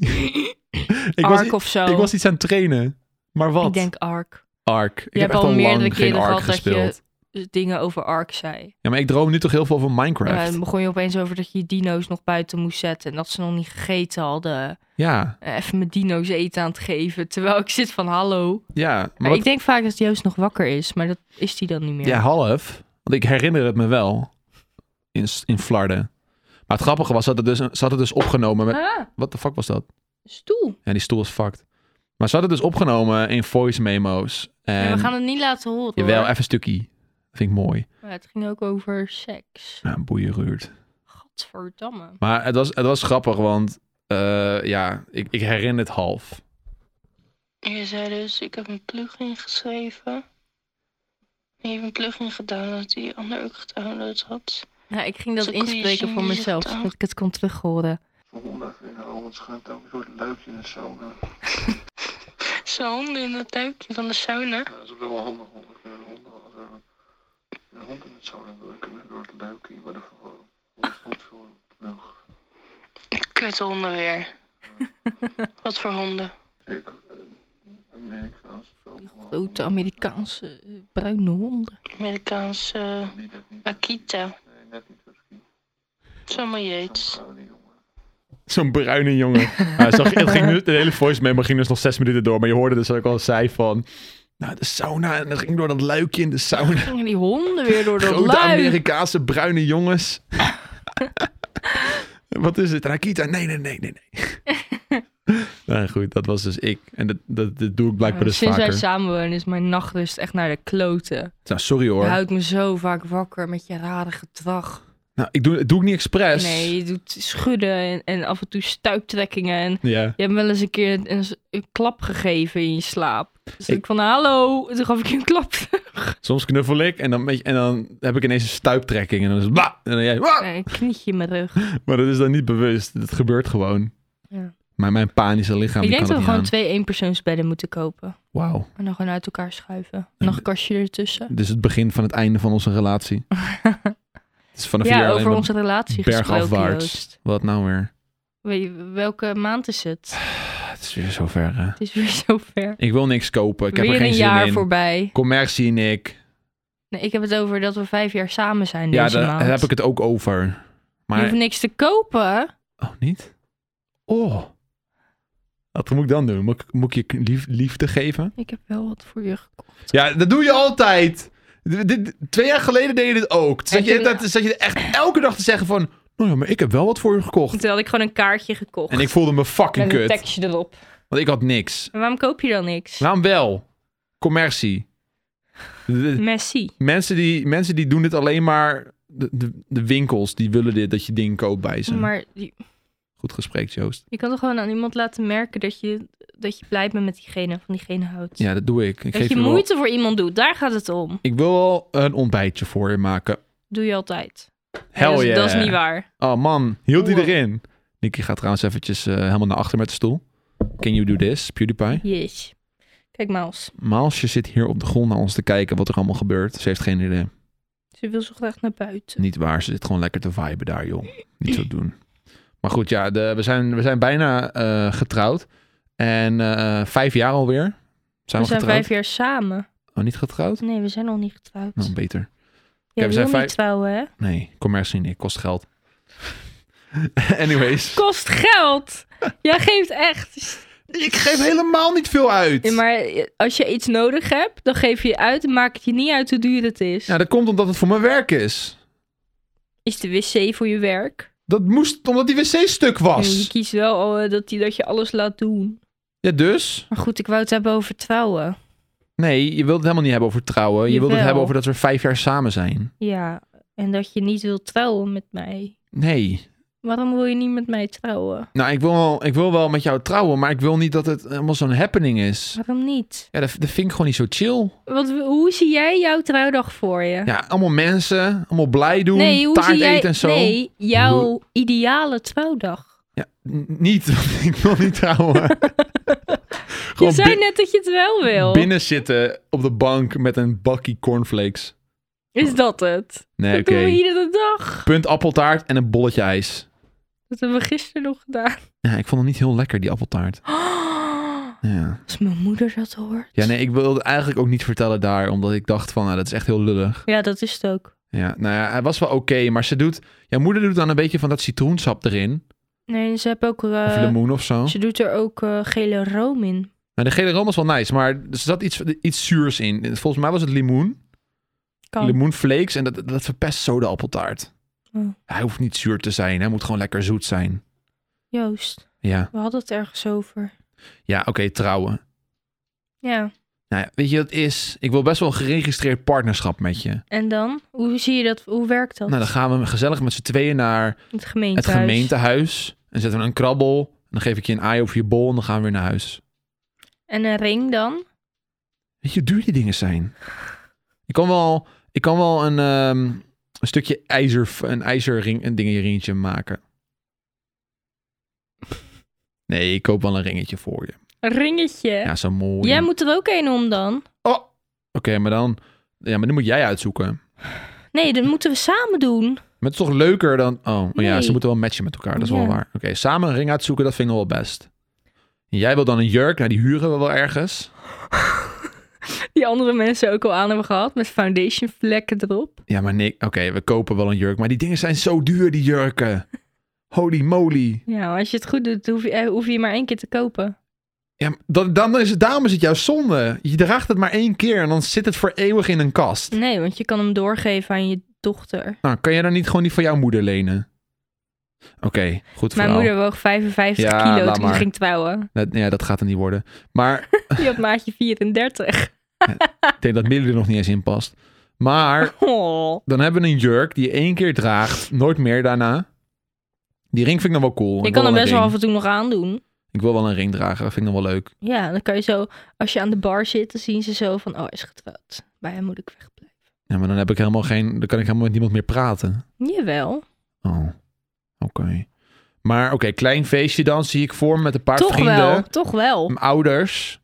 ik, was,
Ark
i-
of zo.
ik was iets aan het trainen. Maar wat?
Ik denk Ark.
Ark. Ik heb
Je hebt
echt
al
al
meerdere
lang geen
keren
Ark
gehad dat
gespeeld.
je eh, dingen over Ark zei.
Ja, maar ik droom nu toch heel veel van
Ja,
Minecraft.
dan begon je opeens over dat je je dino's nog buiten moest zetten en dat ze nog niet gegeten hadden.
ja,
Eh, Even mijn dino's eten aan het geven, terwijl ik zit van hallo.
ja. Maar
Maar
wat-
ik denk vaak dat Joost nog wakker is, maar dat is hij dan niet meer.
Ja, half. Want ik herinner het me wel. In, S- in Flarden. Maar het grappige was, ze hadden dus, een- ze hadden dus opgenomen met...
Ah,
Wat de fuck was dat?
stoel.
Ja, die stoel is fucked. Maar ze hadden dus opgenomen in voice memo's. En,
Ja, we gaan het niet laten horen.
Jawel,
hoor.
even een stukje. Dat vind ik mooi.
Maar het ging ook over seks.
Ja, boeien ruurt.
Gadverdamme.
Maar het was, het was grappig, want... eh, ja, ik, ik herinner het half.
Je zei dus, ik heb een plugin geschreven. En je hebt een plugin gedownload die je ander ook gedownload had.
Ja, Nou, ik ging dat
Zo kon je
inspreken
zien
voor
wie het
mezelf,
aan-
zodat ik het kon terughoren.
Zondag in de oven schijnt ook een soort luikje in de sauna.
Zo'n hond in het duikje van de sauna.
Ja, dat is ook wel handig, want dan kunnen de honden, als er eh, een hond in de sauna wil, dan kunnen ze door het luikje, maar dat wordt goed voor nog.
Kuthonden weer. Wat voor honden.
Ik, Amerikaans, zo
Grote Amerikaanse eh, bruine honden.
Amerikaanse eh,
niet dat niet,
Akita.
nee, net niet Turkije.
Samuel Yates.
Oh, die jongen.
Zo'n bruine jongen. Maar het zag- het ging, dus- de hele voice memo ging dus nog zes minuten door. Maar je hoorde dus dat ik al zei van... Nou, de sauna. En dat ging door dat luikje in de sauna.
Gingen die honden weer door dat
Grote
luik.
Amerikaanse bruine jongens. Wat is het? Rakita? Nee, nee, nee, nee, nee. nou goed, dat was dus ik. En dat, dat, dat doe ik blijkbaar dus
Sinds wij
vaker.
samenwonen is mijn nachtrust echt naar de kloten.
Nou, sorry
Je
hoor.
houdt me zo vaak wakker met je rare gedrag.
Nou, ik doe, doe ik niet expres.
Nee, je doet schudden en, en af en toe stuiptrekkingen. En
Ja.
je hebt wel eens een keer een, een, een klap gegeven in je slaap. Dus
Ik-
ik van hallo, en toen gaf ik je een klap.
Soms knuffel ik en dan, weet je- en dan heb ik ineens een stuiptrekking. En dan is het bla! En dan jij... "Wa!"
Nee, een knietje in mijn rug.
Maar dat is dan niet bewust. Dat gebeurt gewoon.
Ja.
Maar mijn panische lichaam
ik
die kan
denk dat we
het niet
gewoon
aan.
twee eenpersoonsbedden moeten kopen.
Wauw.
En dan gewoon uit elkaar schuiven. En nog een kastje ertussen.
Dit is het begin van het einde van onze relatie. het is vanaf hier
Ja,
alleen
over
maar
onze relatie gesproken,
bergafwaarts.
Joost.
Wat nou weer?
Weet je, welke maand is het?
Het is weer zover, hè.
Het is weer zover.
Ik wil niks kopen. Ik heb
weer
er geen
een
zin
jaar
in.
voorbij.
Commercie, Nick.
Nee, ik heb het over dat we vijf jaar samen zijn
Ja,
deze
daar,
maand.
daar heb ik het ook over.
Je
Maar...
hoeft niks te kopen.
Oh, niet? Oh. Wat moet ik dan doen? Moet ik, moet ik je lief- liefde geven?
Ik heb wel wat voor je gekocht.
Ja, dat doe je altijd. D- dit- twee jaar geleden deed je dit ook. Zat
Ja,
je,
toen-
dat, zat je echt elke dag te zeggen van... Nou ja, maar ik heb wel wat voor je gekocht.
Toen had ik gewoon een kaartje gekocht.
En ik voelde me fucking
met een
kut.
tekstje erop.
Want ik had niks.
En waarom koop je dan niks?
Waarom wel? Commercie. D-
Messi.
Mensen die, mensen die doen dit alleen maar. De, de, de winkels die willen dit dat je ding koopt bij ze.
Maar die-
Goed gesprek, Joost.
je kan toch gewoon aan iemand laten merken dat je dat je blij bent met diegene, van diegene houdt.
Ja, dat doe ik. Ik,
dat
geef
je
je wel-
moeite voor iemand doet, daar gaat het om.
ik wil wel een ontbijtje voor je maken.
Doe je altijd.
Hell
dat, is-
yeah.
dat is niet waar.
Oh man, hield hij
Oeh.
erin? Nicky gaat trouwens eventjes eh, helemaal naar achter met de stoel. Can you do this, PewDiePie?
Yes. Kijk, Maals.
Maalsje zit hier op de grond naar ons te kijken wat er allemaal gebeurt. Ze heeft geen idee.
Ze wil zo graag naar buiten.
Niet waar, ze zit gewoon lekker te viben daar, joh. Niet zo doen. Maar goed, ja, de, we, zijn, we zijn bijna eh, getrouwd. En eh, vijf jaar alweer. Zijn we,
we zijn
getrouwd?
vijf jaar samen.
Oh, niet getrouwd?
Nee, we zijn nog niet getrouwd.
Nou, beter.
Jij
we
wil
zijn
niet
vijf-
trouwen, hè?
Nee, commercie niet. Kost geld. Anyways.
Kost geld! Jij geeft echt.
Ik geef helemaal niet veel uit.
Ja, maar als je iets nodig hebt, dan geef je het uit en maakt het je niet uit hoe duur het is.
Ja, dat komt omdat het voor mijn werk is.
Is de wc voor je werk?
Dat moest omdat die wc stuk
En je
was.
kiest wel al, eh, dat, die, dat je alles laat doen.
Ja, dus?
Maar goed, ik wou het hebben over trouwen.
Nee, je wilt het helemaal niet hebben over trouwen. Je wilt het
Jawel.
hebben over dat we vijf jaar samen zijn.
Ja, en dat je niet wilt trouwen met mij.
Nee.
Waarom wil je niet met mij trouwen?
Nou, ik wil, wel, ik wil wel met jou trouwen, maar ik wil niet dat het helemaal zo'n happening is.
Waarom niet?
Ja, dat, dat vind ik gewoon niet zo chill.
Wat, hoe zie jij jouw trouwdag voor je?
Ja, allemaal mensen, allemaal blij doen,
nee, hoe
taart
zie jij
eten en zo.
Nee, jouw ideale trouwdag.
Ja, n- niet, want ik wil niet trouwen.
Je
gewoon
zei
bi-
net dat je het wel wil.
binnen zitten op de bank met een bakkie cornflakes.
Is dat het?
Nee,
dat
oké.
doen we iedere dag.
Punt appeltaart en een bolletje ijs.
Dat hebben we gisteren nog gedaan.
Ja, ik vond het niet heel lekker, die appeltaart. Ja.
als mijn moeder dat hoort.
Ja, nee, ik wilde het eigenlijk ook niet vertellen daar, omdat ik dacht van, nou, dat is echt heel lullig.
Ja, dat is het ook.
Ja, nou ja, hij was wel oké, maar ze doet, jouw moeder doet dan een beetje van dat citroensap erin,
Nee, ze hebben ook...
of
eh,
limoen of zo.
ze doet er ook eh, gele room in.
Nou, de gele room was wel nice, maar er zat iets, iets zuurs in. Volgens mij was het limoen,
Kan.
limoenflakes, en dat, dat verpest zo de appeltaart.
Oh.
Hij hoeft niet zuur te zijn, hij moet gewoon lekker zoet zijn.
Joost,
Ja,
we hadden het ergens over.
ja oké, trouwen.
Ja,
Nou ja, weet je wat het is? Ik wil best wel een geregistreerd partnerschap met je.
en dan? Hoe zie je dat? Hoe werkt dat?
Nou, dan gaan we gezellig met z'n tweeën naar
het
het
gemeentehuis.
gemeentehuis. En zetten we een krabbel. En dan geef ik je een aai over je bol en dan gaan we weer naar huis.
En een ring dan?
Weet je hoe duur die dingen zijn? Ik kan wel, ik kan wel een, ehm, een stukje ijzer, een ijzerring, een dingetje ringetje maken. Nee, ik koop wel een ringetje voor je.
Een ringetje.
Ja, zo mooi.
Jij moet er ook een om dan.
Oh! Oké, maar dan... Ja, maar dan moet jij uitzoeken.
Nee, dat moeten we samen doen.
Maar het is toch leuker dan... Oh, oh ja,
Nee.
ze moeten wel matchen met elkaar. Dat is
Ja.
wel waar. Oké, samen een ring uitzoeken, dat vind ik nog wel best. En jij wil dan een jurk. Nou, die huren we wel ergens.
Die andere mensen ook al aan hebben gehad. Met foundation vlekken erop.
Ja, maar nee, oké, we kopen wel een jurk. Maar die dingen zijn zo duur, die jurken. Holy moly.
Ja, als je het goed doet, hoef je, eh, hoef je maar één keer te kopen.
Ja, maar dan, dan is het, daarom is het jouw zonde. Je draagt het maar één keer en dan zit het voor eeuwig in een kast.
Nee, want je kan hem doorgeven aan je dochter.
Nou, kan jij dan niet gewoon die van jouw moeder lenen? Oké, goed
Mijn
verhaal.
moeder woog 55
Ja,
kilo
laat
toen ze
maar.
ging trouwen.
Dat, ja, dat gaat er niet worden. Maar
Die had maatje 34.
ik denk dat Millie er nog niet eens in past. Maar
Oh.
dan hebben we een jurk die je één keer draagt, nooit meer daarna. Die ring vind ik nog wel cool.
Je
Ik
kan
wil
hem
een
best wel af
ring.
en toe nog aandoen.
Ik wil wel een ring dragen, dat vind ik nog wel leuk.
Ja, dan kan je zo... Als je aan de bar zit, dan zien ze zo van... Oh, hij is getrouwd. Bij hem moet ik wegblijven.
Ja, maar dan heb ik helemaal geen. Dan kan ik helemaal met niemand meer praten.
Jawel.
Oh, oké. Maar oké, klein feestje dan zie ik voor me met een paar
toch
vrienden,
wel, toch wel.
m- ouders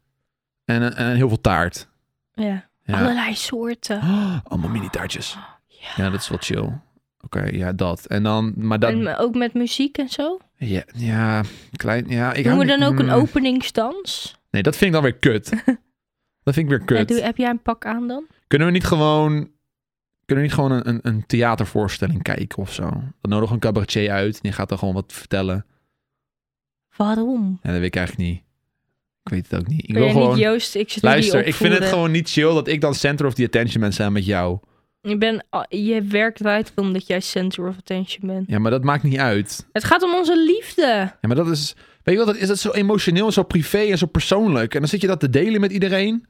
en, eh, en heel veel taart.
Ja.
Ja.
Allerlei soorten.
Oh, allemaal mini taartjes.
Ah, Ja.
Ja, dat is wel chill. Oké, ja, dat. En dan, maar dat.
En me- ook met muziek en zo.
Ja, ja klein. Ja, ik
Doen
hou
we
niet-
dan ook een
mm.
openingsdans?
Nee, dat vind ik dan weer kut. dat vind ik weer
Ja,
kut.
doe- heb jij een pak aan dan?
Kunnen we niet gewoon. Kunnen we niet gewoon een, een, een theatervoorstelling kijken of zo? Dan nodig een cabaretier uit en die gaat dan gewoon wat vertellen.
Waarom?
Ja, dat weet ik eigenlijk niet. Ik weet het ook niet. Ik
Kun
wil
jij
gewoon...
niet Joost, ik zit nu
Luister,
die
ik vind het
opvoeren.
gewoon niet chill dat ik dan center of the attention ben samen met jou.
Je, bent al- je werkt eruit omdat jij center of attention bent.
Ja, maar dat maakt niet uit.
Het gaat om onze liefde.
Ja, maar dat is... Weet je wat, dat is dat zo emotioneel en zo privé en zo persoonlijk. En dan zit je dat te delen met iedereen.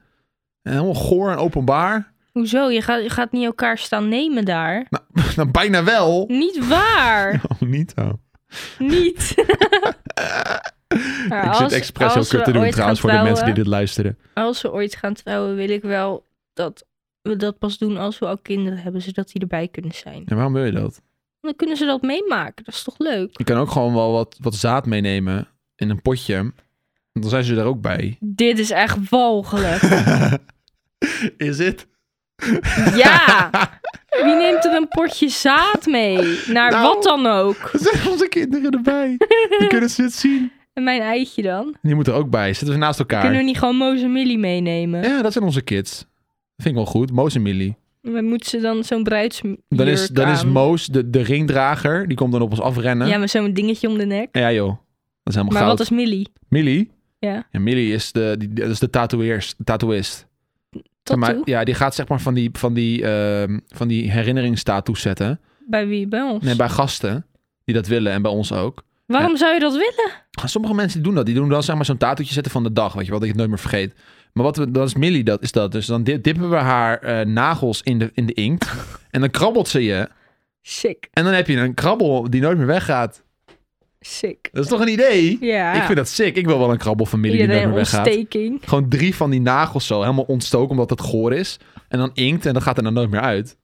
En helemaal goor en openbaar.
Hoezo? Je gaat, je gaat niet elkaar staan nemen daar.
Nou, nou bijna wel.
Niet waar.
Oh, niet zo.
niet. Maar
ik
als-
zit expres heel
als we
kut te doen
ooit
trouwens
gaan
voor de mensen die
trouwen-
dit luisteren.
Als we ooit gaan trouwen, wil ik wel dat we dat pas doen als we al kinderen hebben, zodat die erbij kunnen zijn.
En waarom wil je dat?
Dan kunnen ze dat meemaken. Dat is toch leuk?
Je kan ook gewoon wel wat, wat zaad meenemen in een potje. Want Dan zijn ze daar ook bij.
Dit is echt walgelijk.
Is het?
ja! Wie neemt er een potje zaad mee? Naar
Nou.
wat dan ook.
Er zijn onze kinderen erbij. Dan kunnen ze het zien.
En mijn eitje dan?
Die moeten er ook bij. Zitten ze naast elkaar.
Kunnen we niet gewoon Moos en Millie meenemen?
Ja, dat zijn onze kids. Vind ik wel goed. Moos en Millie.
Maar Moeten ze dan zo'n bruidsjurk
Dan is, dan is
aan?
Moos de, de ringdrager. Die komt dan op ons afrennen.
Ja,
Ja,
met zo'n dingetje om de nek.
joh. Dat is helemaal
Maar
goud.
wat is Millie?
Millie?
Ja.
Ja, Millie is de, die, dat is de tatoeëers, de tatoeïst.
Tattoo?
Maar, ja, die gaat zeg maar van die, van die, ehm, van die herinneringstatoes zetten.
Bij wie? Bij ons?
Nee, bij gasten die dat willen en bij ons ook.
Waarom zou je dat willen?
Sommige mensen die doen dat. Die doen dan zeg maar zo'n tatoetje zetten van de dag. Weet je wel, dat je het nooit meer vergeet. Maar wat we, dat is Millie, dat is dat. Dus dan di- dippen we haar eh, nagels in de, in de inkt. en dan krabbelt ze je.
Sick,
En dan heb je een krabbel die nooit meer weggaat.
sick.
Dat is toch een idee?
Ja.
Ik vind dat sick. Ik wil wel een krabbel van Millie die nooit
Iedereen
meer weggaat.
ontsteking.
Gewoon drie van die nagels zo, helemaal ontstoken omdat het goor is. En dan inkt en dat gaat er dan nooit meer uit.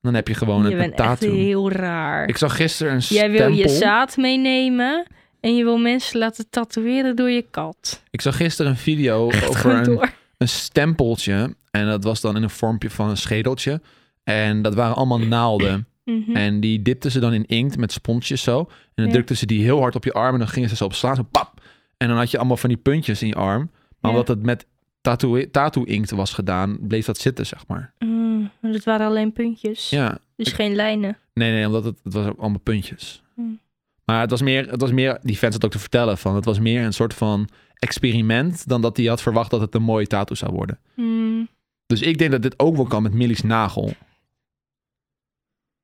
Dan heb je gewoon
je
een, een
bent echt
tattoo.
heel raar.
Ik zag gisteren een
Jij wil
stempel.
je zaad meenemen en je wil mensen laten tatoeëren door je kat.
Ik zag gisteren een video over
Goed
een,
hoor.
een stempeltje. En dat was dan in een vormpje van een schedeltje. En dat waren allemaal naalden.
Mhm.
En die dipten ze dan in inkt met sponsjes zo. En dan
Ja.
drukten ze die heel hard op je arm. En dan gingen ze zo op slaan. Zo pap. En dan had je allemaal van die puntjes in je arm. Maar
Ja.
omdat het met tattoo- tattoo-inkt was gedaan, bleef dat zitten, zeg maar.
Mm, maar dat waren alleen puntjes.
Ja,
Dus geen lijnen.
Nee, nee, omdat het, het was ook allemaal puntjes.
Hmm.
Maar het was, meer, het was meer, die fans had ook te vertellen van, het was meer een soort van experiment dan dat hij had verwacht dat het een mooie tattoo zou worden.
Mm,
Dus ik denk dat dit ook wel kan met Millie's nagel.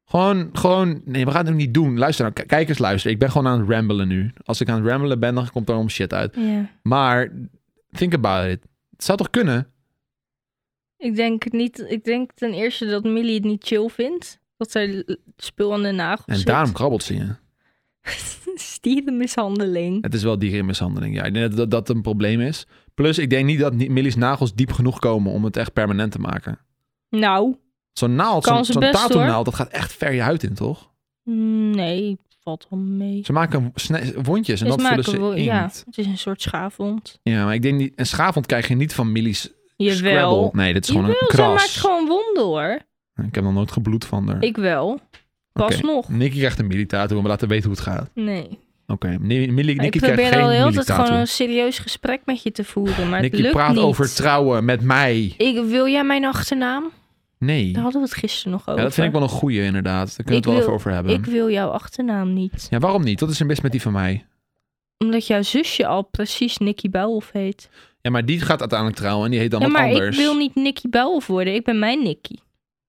Gewoon, gewoon, nee, we gaan het ook niet doen. Luister nou, k- kijkers luisteren. Ik ben gewoon aan het ramblen nu. Als ik aan het ramblen ben, dan komt er om shit uit.
ja.
Maar, think about it. Het zou toch kunnen?
Ik denk het niet. Ik denk ten eerste dat Millie het niet chill vindt. Dat zij l- spul aan de nagels
En
zit.
daarom krabbelt ze je.
Stierenmishandeling.
Het is wel dierenmishandeling, ja. Ik denk dat dat, dat een probleem is. Plus, ik denk niet dat ni- Millie's nagels diep genoeg komen om het echt permanent te maken.
Nou,
Zo'n naald,
Kan
zo'n
ze
zo'n
best,
tattoo-naald, dat gaat echt ver je huid in, toch?
mm, nee, valt wel mee.
Ze maken sne- wondjes en
Ze
dat vullen
maken
ze
wel-
in.
ja,
Ja.
het is een soort schaafwond.
maar ik denk niet... Een schaafwond krijg je niet van Millie's Scrabble.
Jawel.
Nee, dit is gewoon
Jawel,
een
zij maakt
kras.
gewoon wonden hoor.
Ik heb nog nooit gebloed van haar.
Ik wel. Pas
Oké.
nog.
Nicky krijgt een Millie-tattoo en we laten weten hoe het gaat.
Nee.
Oké, Ni- Millie,
Maar
Nicky
ik
krijgt
probeer
geen
al heel tijd gewoon
Millie-tattoo.
een serieus gesprek met je te voeren, maar het
Nicky
lukt
praat
niet.
over trouwen met mij.
ik, wil jij mijn achternaam?
Nee.
Daar hadden we het gisteren nog over.
Ja, dat vind ik wel een goeie inderdaad. Daar kunnen we het
Ik
wel even
wil-
over hebben.
Ik wil jouw achternaam niet.
Ja, waarom niet? Dat is een mis met die van mij.
Omdat jouw zusje al precies Nicky Bouwhoff heet.
Ja, maar die gaat uiteindelijk trouwen en die heet dan
ja,
wat
maar
anders.
ik wil niet Nicky Bouwhoff worden. Ik ben mijn Nicky.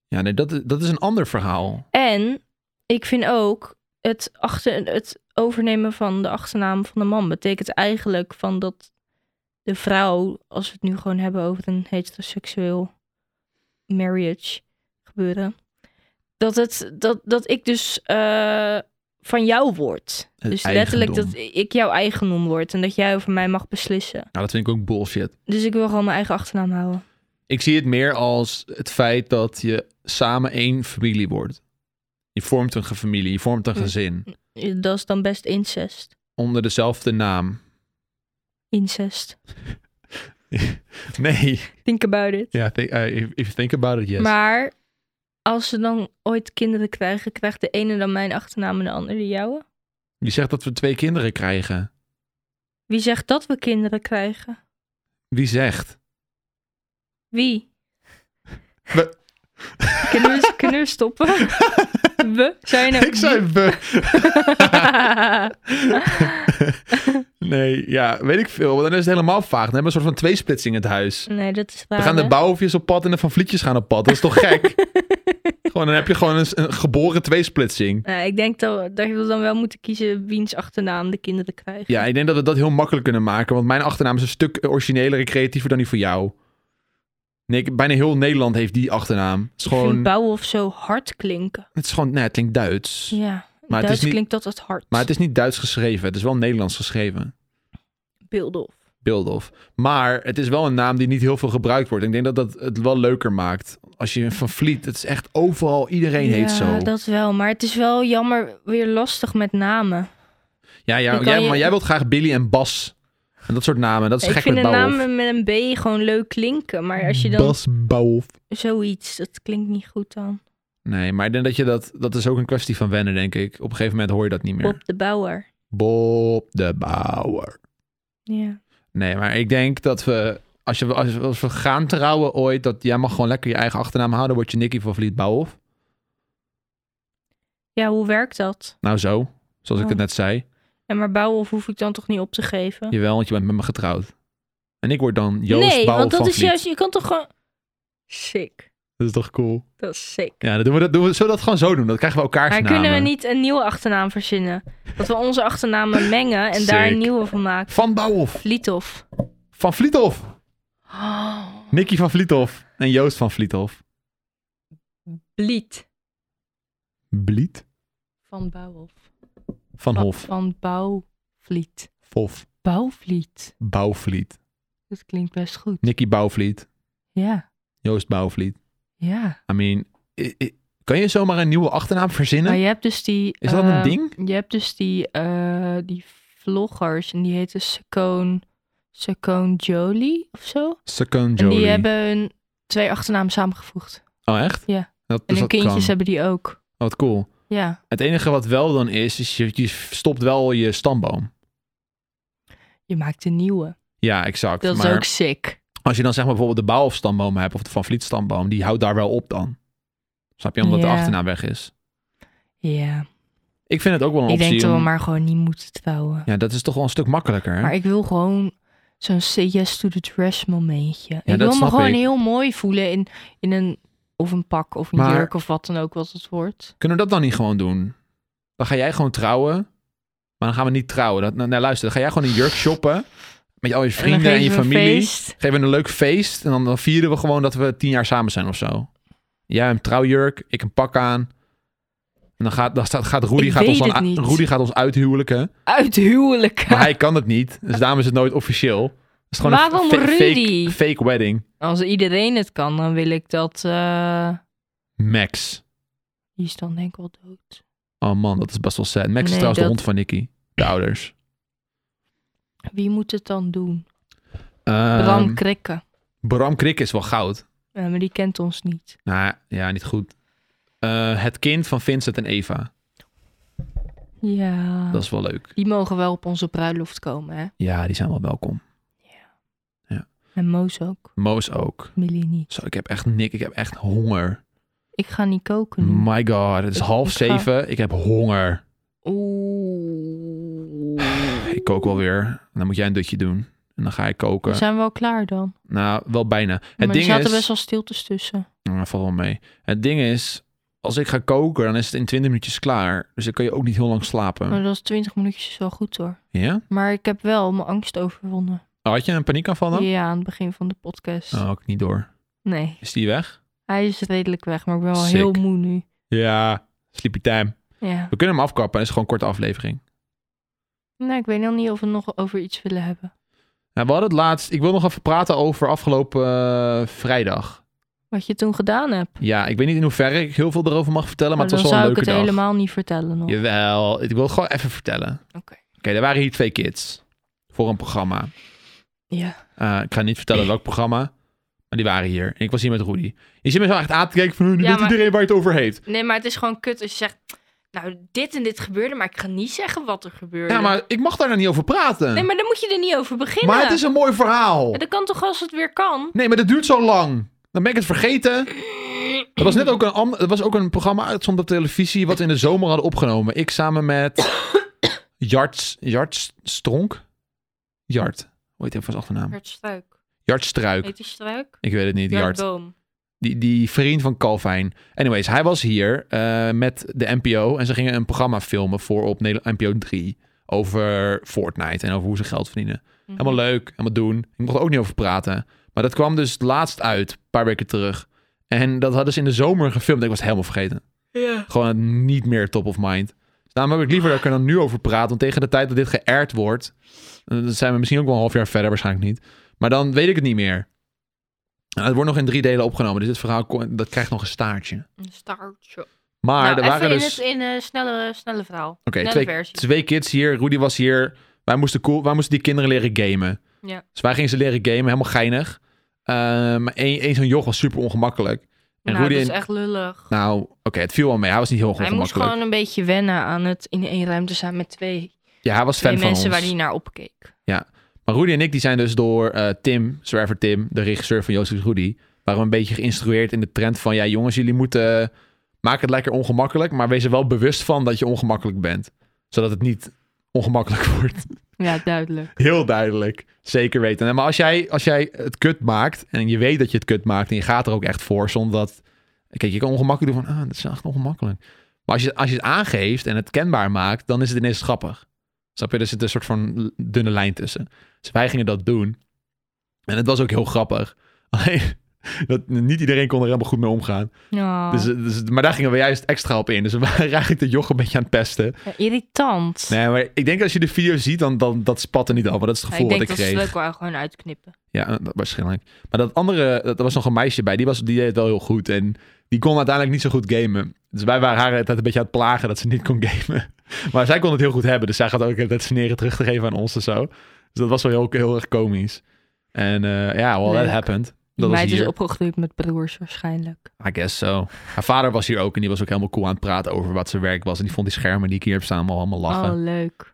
Ja, nee, dat, is- dat is een ander verhaal.
En ik vind ook het, achter, het overnemen van de achternaam van de man betekent eigenlijk van dat de vrouw, als we het nu gewoon hebben over een heteroseksueel marriage gebeuren, dat, het, dat, dat ik dus eh, van jou word.
Het
dus letterlijk dat
eigendom.
ik jouw eigendom word en dat jij over mij mag beslissen.
Nou, dat vind ik ook bullshit.
Dus ik wil gewoon mijn eigen achternaam houden.
Ik zie het meer als het feit dat je samen één familie wordt. Je vormt een ge- familie, je vormt een
Hm.
gezin.
Dat is dan best incest.
Onder dezelfde naam.
Incest.
Nee.
Think about it.
Ja, think, eh, if, if you think about it, yes.
Maar als ze dan ooit kinderen krijgen, krijgt de ene dan mijn achternaam en de andere de jouwe?
Je zegt dat we twee kinderen krijgen.
Wie zegt dat we kinderen krijgen?
Wie zegt?
Wie?
We-
Kunnen we, kunnen we stoppen? We? Zijn nou...
Ik zei we. Nee, ja, weet ik veel. Want dan is het helemaal vaag. Dan hebben we een soort van tweesplitsing in het huis.
nee, dat is waar.
We gaan de
hè?
bouwhoefjes op pad en de van Vlietjes gaan op pad. Dat is toch gek? gewoon, dan heb je gewoon een, een geboren tweesplitsing.
Nou, ik denk dat, dat we dan wel moeten kiezen wiens achternaam de kinderen krijgen.
Ja, ik denk dat we dat heel makkelijk kunnen maken. Want mijn achternaam is een stuk origineler en creatiever dan die van jou. Nee, ik- bijna heel Nederland heeft die achternaam. Het is
Ik vind
gewoon,
bouwen of zo hard klinken.
het, is gewoon nee, het klinkt Duits.
Ja,
het is
Duits
niet-
klinkt dat het hard.
Maar het is niet Duits geschreven. Het is wel Nederlands geschreven.
Beeldhof.
Beeldhof. Maar het is wel een naam die niet heel veel gebruikt wordt. Ik denk dat dat het wel leuker maakt. Als je van Vliet, het is echt overal, iedereen heet zo.
Ja, dat wel. Maar het is wel jammer weer lastig met namen.
Ja, ja
Dan kan
jij,
je-
maar jij wilt graag Billy en Bas. En dat soort namen. Dat is
ik
gek
vind
met
de
Bouwhof.
namen met een B gewoon leuk klinken. Maar als je dan
Bas Bouwhof.
zoiets, dat klinkt niet goed dan.
Nee, maar ik denk dat je dat... Dat is ook een kwestie van wennen, denk ik. Op een gegeven moment hoor je dat niet meer.
Bob de Bouwer.
Bob de Bouwer.
Ja.
Nee, maar ik denk dat we... Als, je, als, als we gaan trouwen ooit, dat jij mag gewoon lekker je eigen achternaam houden. Word je Nicky van Vliet Bouwhof.
ja, hoe werkt dat?
Nou zo, zoals ik
Oh.
het net zei.
En maar Bouwhof hoef ik dan toch niet op te geven?
Jawel, want je bent met me getrouwd. En ik word dan Joost
nee,
Bouwhof
want dat
van
is
Vliet.
juist, je kan toch gewoon... Sick.
Dat is toch cool?
Dat is sick.
Ja, dan doen we dat, doen we, zullen we dat gewoon zo doen? Dan krijgen we elkaar
Maar
namen.
kunnen we niet een nieuwe achternaam verzinnen? Dat we onze achternamen mengen en daar een
Sick.
nieuwe van maken.
Van Bouwhof.
Vliethof.
Van Vliethof.
Oh,
Nicky van Vliethof. En Joost van Vliethof.
Bliet.
Bliet.
Van Bouwhof.
Van
Ba-
Hof.
Van Bouwvliet.
Vof.
Bouwvliet.
Bouwvliet.
Dat klinkt best goed.
Nicky Bouwvliet.
Ja,
Joost Bouwvliet.
ja.
I mean, i- i- kan je zomaar een nieuwe achternaam verzinnen?
Maar je hebt dus die...
Is dat een
eh,
ding?
Je hebt dus die, eh, die vloggers en die heten Secoon... Secoon Jolie of zo.
Second
En
Jolie.
die hebben hun twee achternamen samengevoegd.
Oh, echt?
Ja.
Dat,
En
dus dat
hun kindjes
kan.
hebben die ook.
Wat cool.
Ja.
Het enige wat wel dan is, is je, je stopt wel je stamboom.
Je maakt een nieuwe.
Ja, exact.
Dat
maar
is ook sick.
als je dan zeg maar bijvoorbeeld de Bouwhof stamboom hebt of de Van Vliet stamboom, die houdt daar wel op dan. Snap je? Omdat
Ja.
de achternaam weg is.
Ja.
Ik vind het ook wel een
Ik
optie.
denk dat we
om-
maar gewoon niet moeten trouwen.
Ja, dat is toch wel een stuk makkelijker. hè?
Maar ik wil gewoon zo'n say yes to the dress momentje. ik
dat
wil me
snap
gewoon
ik.
heel mooi voelen in, in een... Of een pak of een
Maar-
jurk of wat dan ook wat het wordt.
Kunnen we dat dan niet gewoon doen? Dan ga jij gewoon trouwen. Maar dan gaan we niet trouwen. Dat, nou, nou, luister, dan ga jij gewoon een jurk shoppen. Met al je
dan
vrienden en,
geven
je
we een
familie.
feest.
Geven we een leuk feest. En dan, dan vieren we gewoon dat we tien jaar samen zijn of zo. Jij een trouwjurk, ik een pak aan. En dan gaat, dan staat, gaat Rudy,
Ik
gaat ons dan,
weet het
a-
niet.
Rudy gaat ons uithuwelijken.
Uit huwelijk.
Maar hij kan het niet. Dus daarom is het nooit officieel. Het is gewoon
Waarom
een fa-
Rudy?
Fake, fake wedding.
Als iedereen het kan, dan wil ik dat... eh,
Max.
die is dan denk ik wel dood.
Oh man, dat is best wel sad. Max
Nee,
is trouwens
dat-
de hond van Nicky. De ouders.
Wie moet het dan doen?
Ehm,
Bram Krikke.
Bram Krik is wel goud.
Ja, maar die kent ons niet.
Nou ja, niet goed. Eh, het kind van Vincent en Eva.
Ja. Oh.
Dat is wel leuk.
Die mogen wel op onze bruiloft komen, hè?
Ja, die zijn wel welkom.
En Moos ook.
Moos ook.
Millie niet.
Zo, ik heb echt nik. Ik heb echt honger.
Ik ga niet koken nu.
My god, het is
Mhm. Ik-
half
ik ga-
zeven. Ik heb honger.
Oeh.
Ik kook wel weer. En dan moet jij een dutje doen. En dan ga ik koken.
We zijn wel klaar dan.
Nou, wel bijna. Het
maar er
ding
zaten
is...
best wel stiltes tussen.
Nou, valt wel mee. Het ding is, als ik ga koken, dan is het in 20 minuutjes klaar. Dus dan kun je ook niet heel lang slapen.
Maar dat is 20 minuutjes is wel goed hoor.
Ja?
Maar ik heb wel mijn angst overwonnen.
Oh, had je een paniekaanval dan?
Ja, aan het begin van de podcast.
Oh, ook niet door.
Nee,
Is die weg?
hij is redelijk weg, maar ik ben wel
Sick.
heel moe nu.
Ja, sleepy time.
Ja.
We kunnen hem afkappen. Het is gewoon een korte aflevering.
Nou, ik weet nog niet of we nog over iets willen hebben.
Nou, we hadden het laatst... Ik wil nog even praten over afgelopen eh, vrijdag.
Wat je toen gedaan hebt.
Ja, ik weet niet in hoeverre ik heel veel erover mag vertellen, maar
Nou, dan
het was wel
zou
een
ik
leuke
het
dag.
helemaal niet vertellen nog.
Jawel, ik wil het gewoon even vertellen.
Oké.
Oké, er waren hier twee kids voor een programma.
Ja.
Eh, ik ga niet vertellen welk programma, maar die waren hier. En ik was hier met Rudy. Je zit me zo echt aan te kijken van, nu
Ja,
weet
maar-
iedereen waar je het over heeft.
Nee, maar het is gewoon kut als je zegt... Nou, dit en dit gebeurde, maar ik ga niet zeggen wat er gebeurde.
Ja, maar ik mag daar nou niet over praten.
Nee,
maar,
maar dan moet je er niet over beginnen.
het is een mooi verhaal.
Ja, dat kan toch als het weer kan?
Nee, maar dat duurt zo lang. Dan ben ik het vergeten. Er was net ook een, ander- er was ook een programma uitzond op televisie... wat we in de zomer hadden opgenomen. Ik samen met... Jarts... Jarts Stronk? Jart. Hoe heet hij van zijn achternaam?
Jart Struik.
Jart Struik.
Heet die Struik?
Ik weet het niet,
Jart
Jart.
Boom.
Die, die vriend van Calvijn. Anyways, hij was hier eh, met de NPO. En ze gingen een programma filmen voor op Nederland- NPO 3. Over Fortnite en over hoe ze geld verdienen.
Mhm.
Helemaal leuk, helemaal doen. Ik mocht er ook niet over praten. Maar dat kwam dus laatst uit, een paar weken terug. En dat hadden ze in de zomer gefilmd. Ik was het helemaal vergeten.
Ja.
Gewoon niet meer top of mind. Dus Daarom heb ik liever dat ik er dan nu over praat. Want tegen de tijd dat dit geërd wordt... eh, Dan zijn we misschien ook wel een half jaar verder, waarschijnlijk niet. Maar dan weet ik het niet meer. Nou, het wordt nog in drie delen opgenomen. Dus dit verhaal ko- dat krijgt nog een staartje.
Een staartje.
Maar
nou,
er waren
even in,
dus...
het, in een snelle, snelle verhaal.
Oké,
snelle
twee,
versie.
twee kids hier. Rudy was hier. Wij moesten, cool, wij moesten die kinderen leren gamen.
Ja.
Dus wij gingen ze leren gamen, helemaal geinig. Eh, maar één één zo'n joch was super ongemakkelijk. En
nou,
Rudy
dat is
en-
echt lullig.
Nou, oké, het viel wel mee. Hij was niet heel
hij moest
ongemakkelijk.
gewoon een beetje wennen aan het in één ruimte staan met twee,
Ja, hij was
twee
fan van
mensen
ons.
waar hij naar opkeek.
Maar Rudy en ik die zijn dus door eh, Tim, Zwerver Tim, de regisseur van Jozef Rudy, waren we een beetje geïnstrueerd in de trend van, ja jongens, jullie moeten, eh, maak het lekker ongemakkelijk, maar wees er wel bewust van dat je ongemakkelijk bent. Zodat het niet ongemakkelijk wordt.
Ja, duidelijk.
Heel duidelijk. Zeker weten. Nee, Maar als jij, als jij het kut maakt en je weet dat je het kut maakt en je gaat er ook echt voor zonder dat... Kijk, je kan ongemakkelijk doen van, ah, dat is echt ongemakkelijk. Maar als je, als je het aangeeft en het kenbaar maakt, dan is het ineens grappig. Snap je? Er zit een soort van l- dunne lijn tussen. Dus wij gingen dat doen. En het was ook heel grappig. Alleen, dat, niet iedereen kon er helemaal goed mee omgaan.
Ja,
Dus, dus, maar daar gingen we juist extra op in. Dus we waren eigenlijk de joch een beetje aan het pesten.
ja, irritant.
eh, Nee, maar ik denk als je de video ziet, dan, dan dat spat er niet af. Maar dat is het
Ja,
gevoel
ik denk
wat ik
dat ze
kreeg.
het ook wel gewoon uitknippen.
Ja, eh, dat- waarschijnlijk. Maar dat andere, dat, er was nog een meisje bij. Die, was, die deed het wel heel goed. En die kon uiteindelijk niet zo goed gamen. Dus wij waren haar de hele tijd een beetje aan het plagen dat ze niet kon gamen. Maar zij kon het heel goed hebben. Dus zij gaat ook het sneren terug te geven aan ons en zo. Dus dat was wel heel, heel erg komisch. En eh, ja, well, that
Leuk.
happened.
Die
Dat was
meid
hier.
is opgegroeid met broers waarschijnlijk.
I guess so. Haar vader was hier ook en die was ook helemaal cool aan het praten over wat zijn werk was. En die vond die schermen die ik hier heb staan allemaal- allemaal lachen.
Oh, leuk.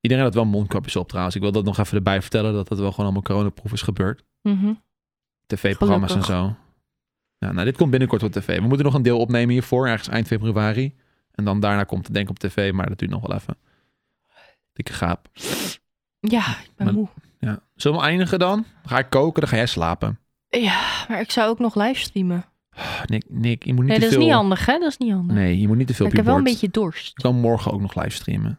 Iedereen had wel mondkapjes op trouwens. Ik wil dat nog even erbij vertellen, dat dat wel gewoon allemaal coronaproef is gebeurd.
Mhm.
TV-programma's en
Gelukkig.
zo. Ja, nou, dit komt binnenkort op tv. We moeten nog een deel opnemen hiervoor, ergens eind februari. En dan daarna komt het denk ik op tv, maar dat duurt nog wel even. Dikke gaap.
Ja, ik ben
Maar-
moe.
Ja. Zullen we eindigen dan? Dan ga ik koken, dan ga jij slapen. Ah,
Ja, maar ik zou ook nog livestreamen.
Nick, Nick je moet niet
Nee,
te
dat is
veel...
niet handig, hè? Dat is niet handig.
Nee, je moet niet te veel
Maar
op
ik heb
je
wel een
bord.
beetje dorst.
Ik kan morgen ook nog livestreamen.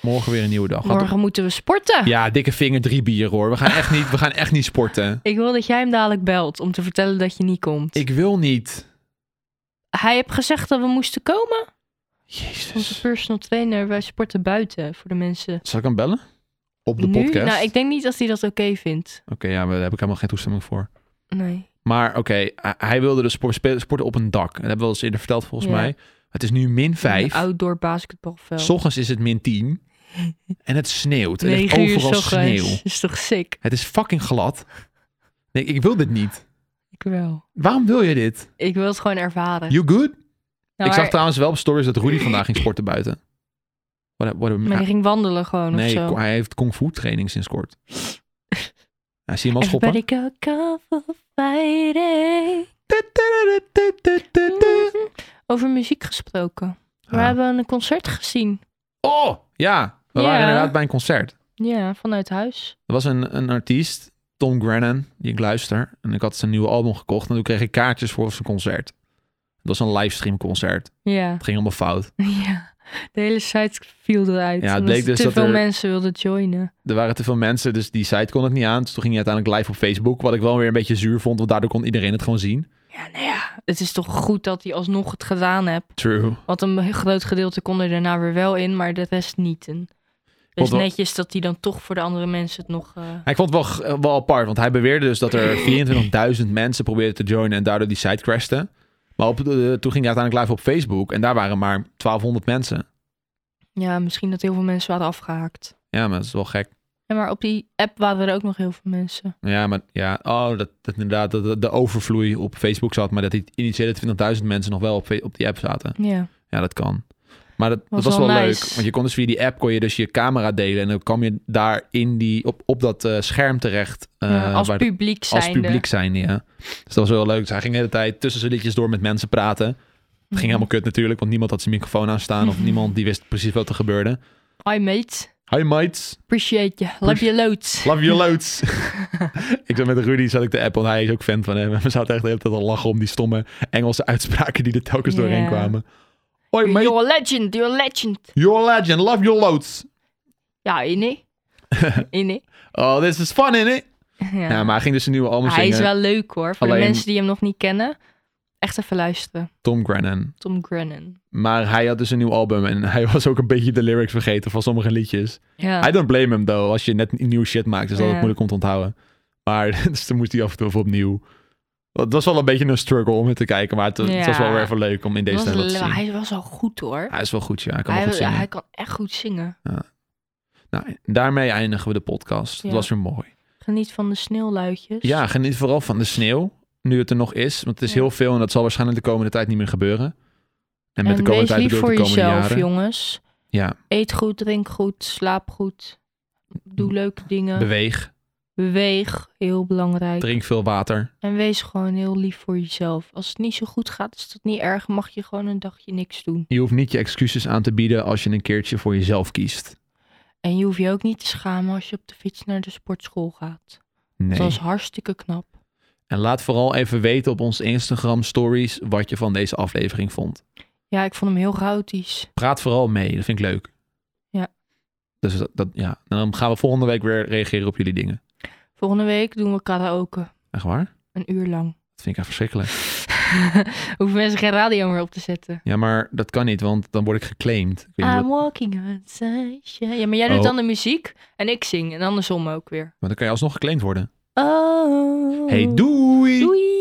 Morgen weer een nieuwe dag. Had-
Morgen moeten we sporten.
Ja, dikke vinger, drie bier hoor. We gaan echt niet, we gaan echt niet sporten.
Ik wil dat jij hem dadelijk belt om te vertellen dat je niet komt.
Ik wil niet.
Hij heeft gezegd dat we moesten komen.
Jezus.
Onze personal trainer, wij sporten buiten voor de mensen.
Zal ik hem bellen? Op de
nu?
podcast?
Nou, ik denk niet dat hij dat oké vindt.
Oké, ja, maar daar heb ik helemaal geen toestemming voor.
Nee.
Maar oké, hij- hij wilde dus spor- spe- sporten op een dak. Dat hebben we wel eens eerder verteld volgens
Ja.
mij. Het is nu min
Een
5.
outdoor basketbalveld.
S ochtends is het min 10. En het sneeuwt. Er ligt
Negen uur
overal
ochtends.
sneeuw.
Is toch sick?
Het is fucking glad. Nee, ik wil dit niet.
Ik wel.
Waarom wil je dit?
Ik wil het gewoon ervaren.
You good?
Nou,
ik zag
maar-
trouwens wel op stories dat Rudy vandaag ging sporten buiten. What, what,
Maar hij ging wandelen gewoon of
ah, nee,
zo.
ko- hij heeft kung fu training sinds kort. Ja, zie je hem al schoppen?
Everybody go cover fighting. Over muziek gesproken. We
Ah.
hebben een concert gezien.
Oh, ja. We
Ja.
waren inderdaad bij een concert.
Ja, vanuit huis.
Er was een, een artiest, Tom Grennan, die ik luister. En ik had zijn nieuwe album gekocht. En toen kreeg ik kaartjes voor zijn concert. Het was een livestream concert.
Ja.
Het ging helemaal fout.
ja. De hele site viel eruit.
Ja, het
omdat
bleek dus
te
dat
veel
er-
mensen wilden joinen.
Er waren te veel mensen, dus die site kon het niet aan. Dus toen ging hij uiteindelijk live op Facebook. Wat ik wel weer een beetje zuur vond, want daardoor kon iedereen het gewoon zien.
Ja, nou ja. Het is toch goed dat hij alsnog het gedaan hebt.
True.
Want een groot gedeelte kon er daarna weer wel in, maar de rest niet. En dus
Wat wel-
netjes dat hij dan toch voor de andere mensen het nog... eh,
Ik vond het wel, wel apart, want hij beweerde dus dat er 24.000 mensen probeerden te joinen en daardoor die site crashte. Maar op, de- toen ging hij uiteindelijk live op Facebook en daar waren maar 1200 mensen.
Ja, misschien dat heel veel mensen waren afgehaakt.
Ja, maar dat is wel gek.
Ja, maar op die app waren er ook nog heel veel mensen.
Ja, maar ja, oh, dat, dat inderdaad dat, dat de overvloei op Facebook zat, maar dat die initiële 20.000 mensen nog wel op, fe- op die app zaten.
Ja.
Ja, dat kan. Maar dat was,
Was
dat was
wel
wel
nice.
leuk, want je kon dus via die app kon je dus je camera delen en dan kwam je daar in die, op, op dat eh, scherm terecht. eh,
Ja, als
waar-
publiek
als
zijnde.
publiek zijn, ja. Dus dat was wel leuk. Dus hij ging de hele tijd tussen zijn liedjes door met mensen praten. Het
Mhm.
ging helemaal kut natuurlijk, want niemand had zijn microfoon aanstaan of niemand die wist precies wat er gebeurde.
Hi mate,
Hi mates,
appreciate je. Love je loads.
Love your loads. ik zat met Rudy, zat ik de app, want hij is ook fan van hem. En we zaten echt de hele tijd al lachen om die stomme Engelse uitspraken die er telkens
Ja.
doorheen kwamen. Hoi mate,
You're a legend, you're a legend.
you're a legend, love your loads.
Ja, inne. Inne.
Oh, this is fun, innit?
Ja.
Ja, maar hij ging dus een nieuwe album
hij
zingen.
is wel leuk hoor, voor
Alleen-
de mensen die hem nog niet kennen. Echt even luisteren.
Tom Grennan.
Tom Grennan.
Maar hij had dus een nieuw album en hij was ook een beetje de lyrics vergeten van sommige liedjes.
Ja.
I don't blame him, though. Als je net nieuw shit maakt, is dat ook
Ja.
moeilijk om te onthouden. Maar dus toen moest hij af en toe even opnieuw. Dat was wel een beetje een struggle om het te kijken, maar het, het
Ja.
was wel weer even leuk om in deze
Was
tijd dat te
le-
zien.
hij was wel goed hoor.
Hij is wel goed, ja. Hij kan
hij,
wel goed zingen.
hij kan echt goed zingen.
Nou, daarmee eindigen we de podcast. Het
Ja.
was weer mooi.
Geniet van de sneeuwluitjes.
Ja, geniet vooral van de sneeuw, nu het er nog is. Want het is
Ja.
heel veel en dat zal waarschijnlijk de komende tijd niet meer gebeuren. En met
en
de komende
wees
tijd
lief
bedoel ik
voor
de komende
jezelf,
jaren.
jongens.
Ja,
Eet goed, drink goed, slaap goed. Doe leuke dingen.
beweeg,
Beweeg, heel belangrijk.
drink veel water.
En wees gewoon heel lief voor jezelf. Als het niet zo goed gaat, is dat niet erg. Mag je gewoon een dagje niks doen.
Je hoeft niet je excuses aan te bieden als je een keertje voor jezelf kiest.
En je hoeft je ook niet te schamen als je op de fiets naar de sportschool gaat.
Nee.
Dat is hartstikke knap.
En laat vooral even weten op onze Instagram stories wat je van deze aflevering vond.
Ja, ik vond hem heel chaotisch.
Praat vooral mee, dat vind ik leuk.
Ja.
Dus dat, dat- ja. En dan gaan we volgende week weer reageren op jullie dingen.
Volgende week doen we karaoke.
Echt waar?
Een uur lang.
Dat vind ik echt verschrikkelijk.
Hoeven mensen geen radio meer op te zetten.
Ja, maar dat kan niet, want dan word ik geclaimd. Ik weet niet
I'm
wat-
walking on sunshine. Ja, maar jij doet
Oh.
dan de muziek en ik zing. En andersom ook weer.
maar dan kan je alsnog geclaimd worden.
Oh.
Hey, doei!
Doei.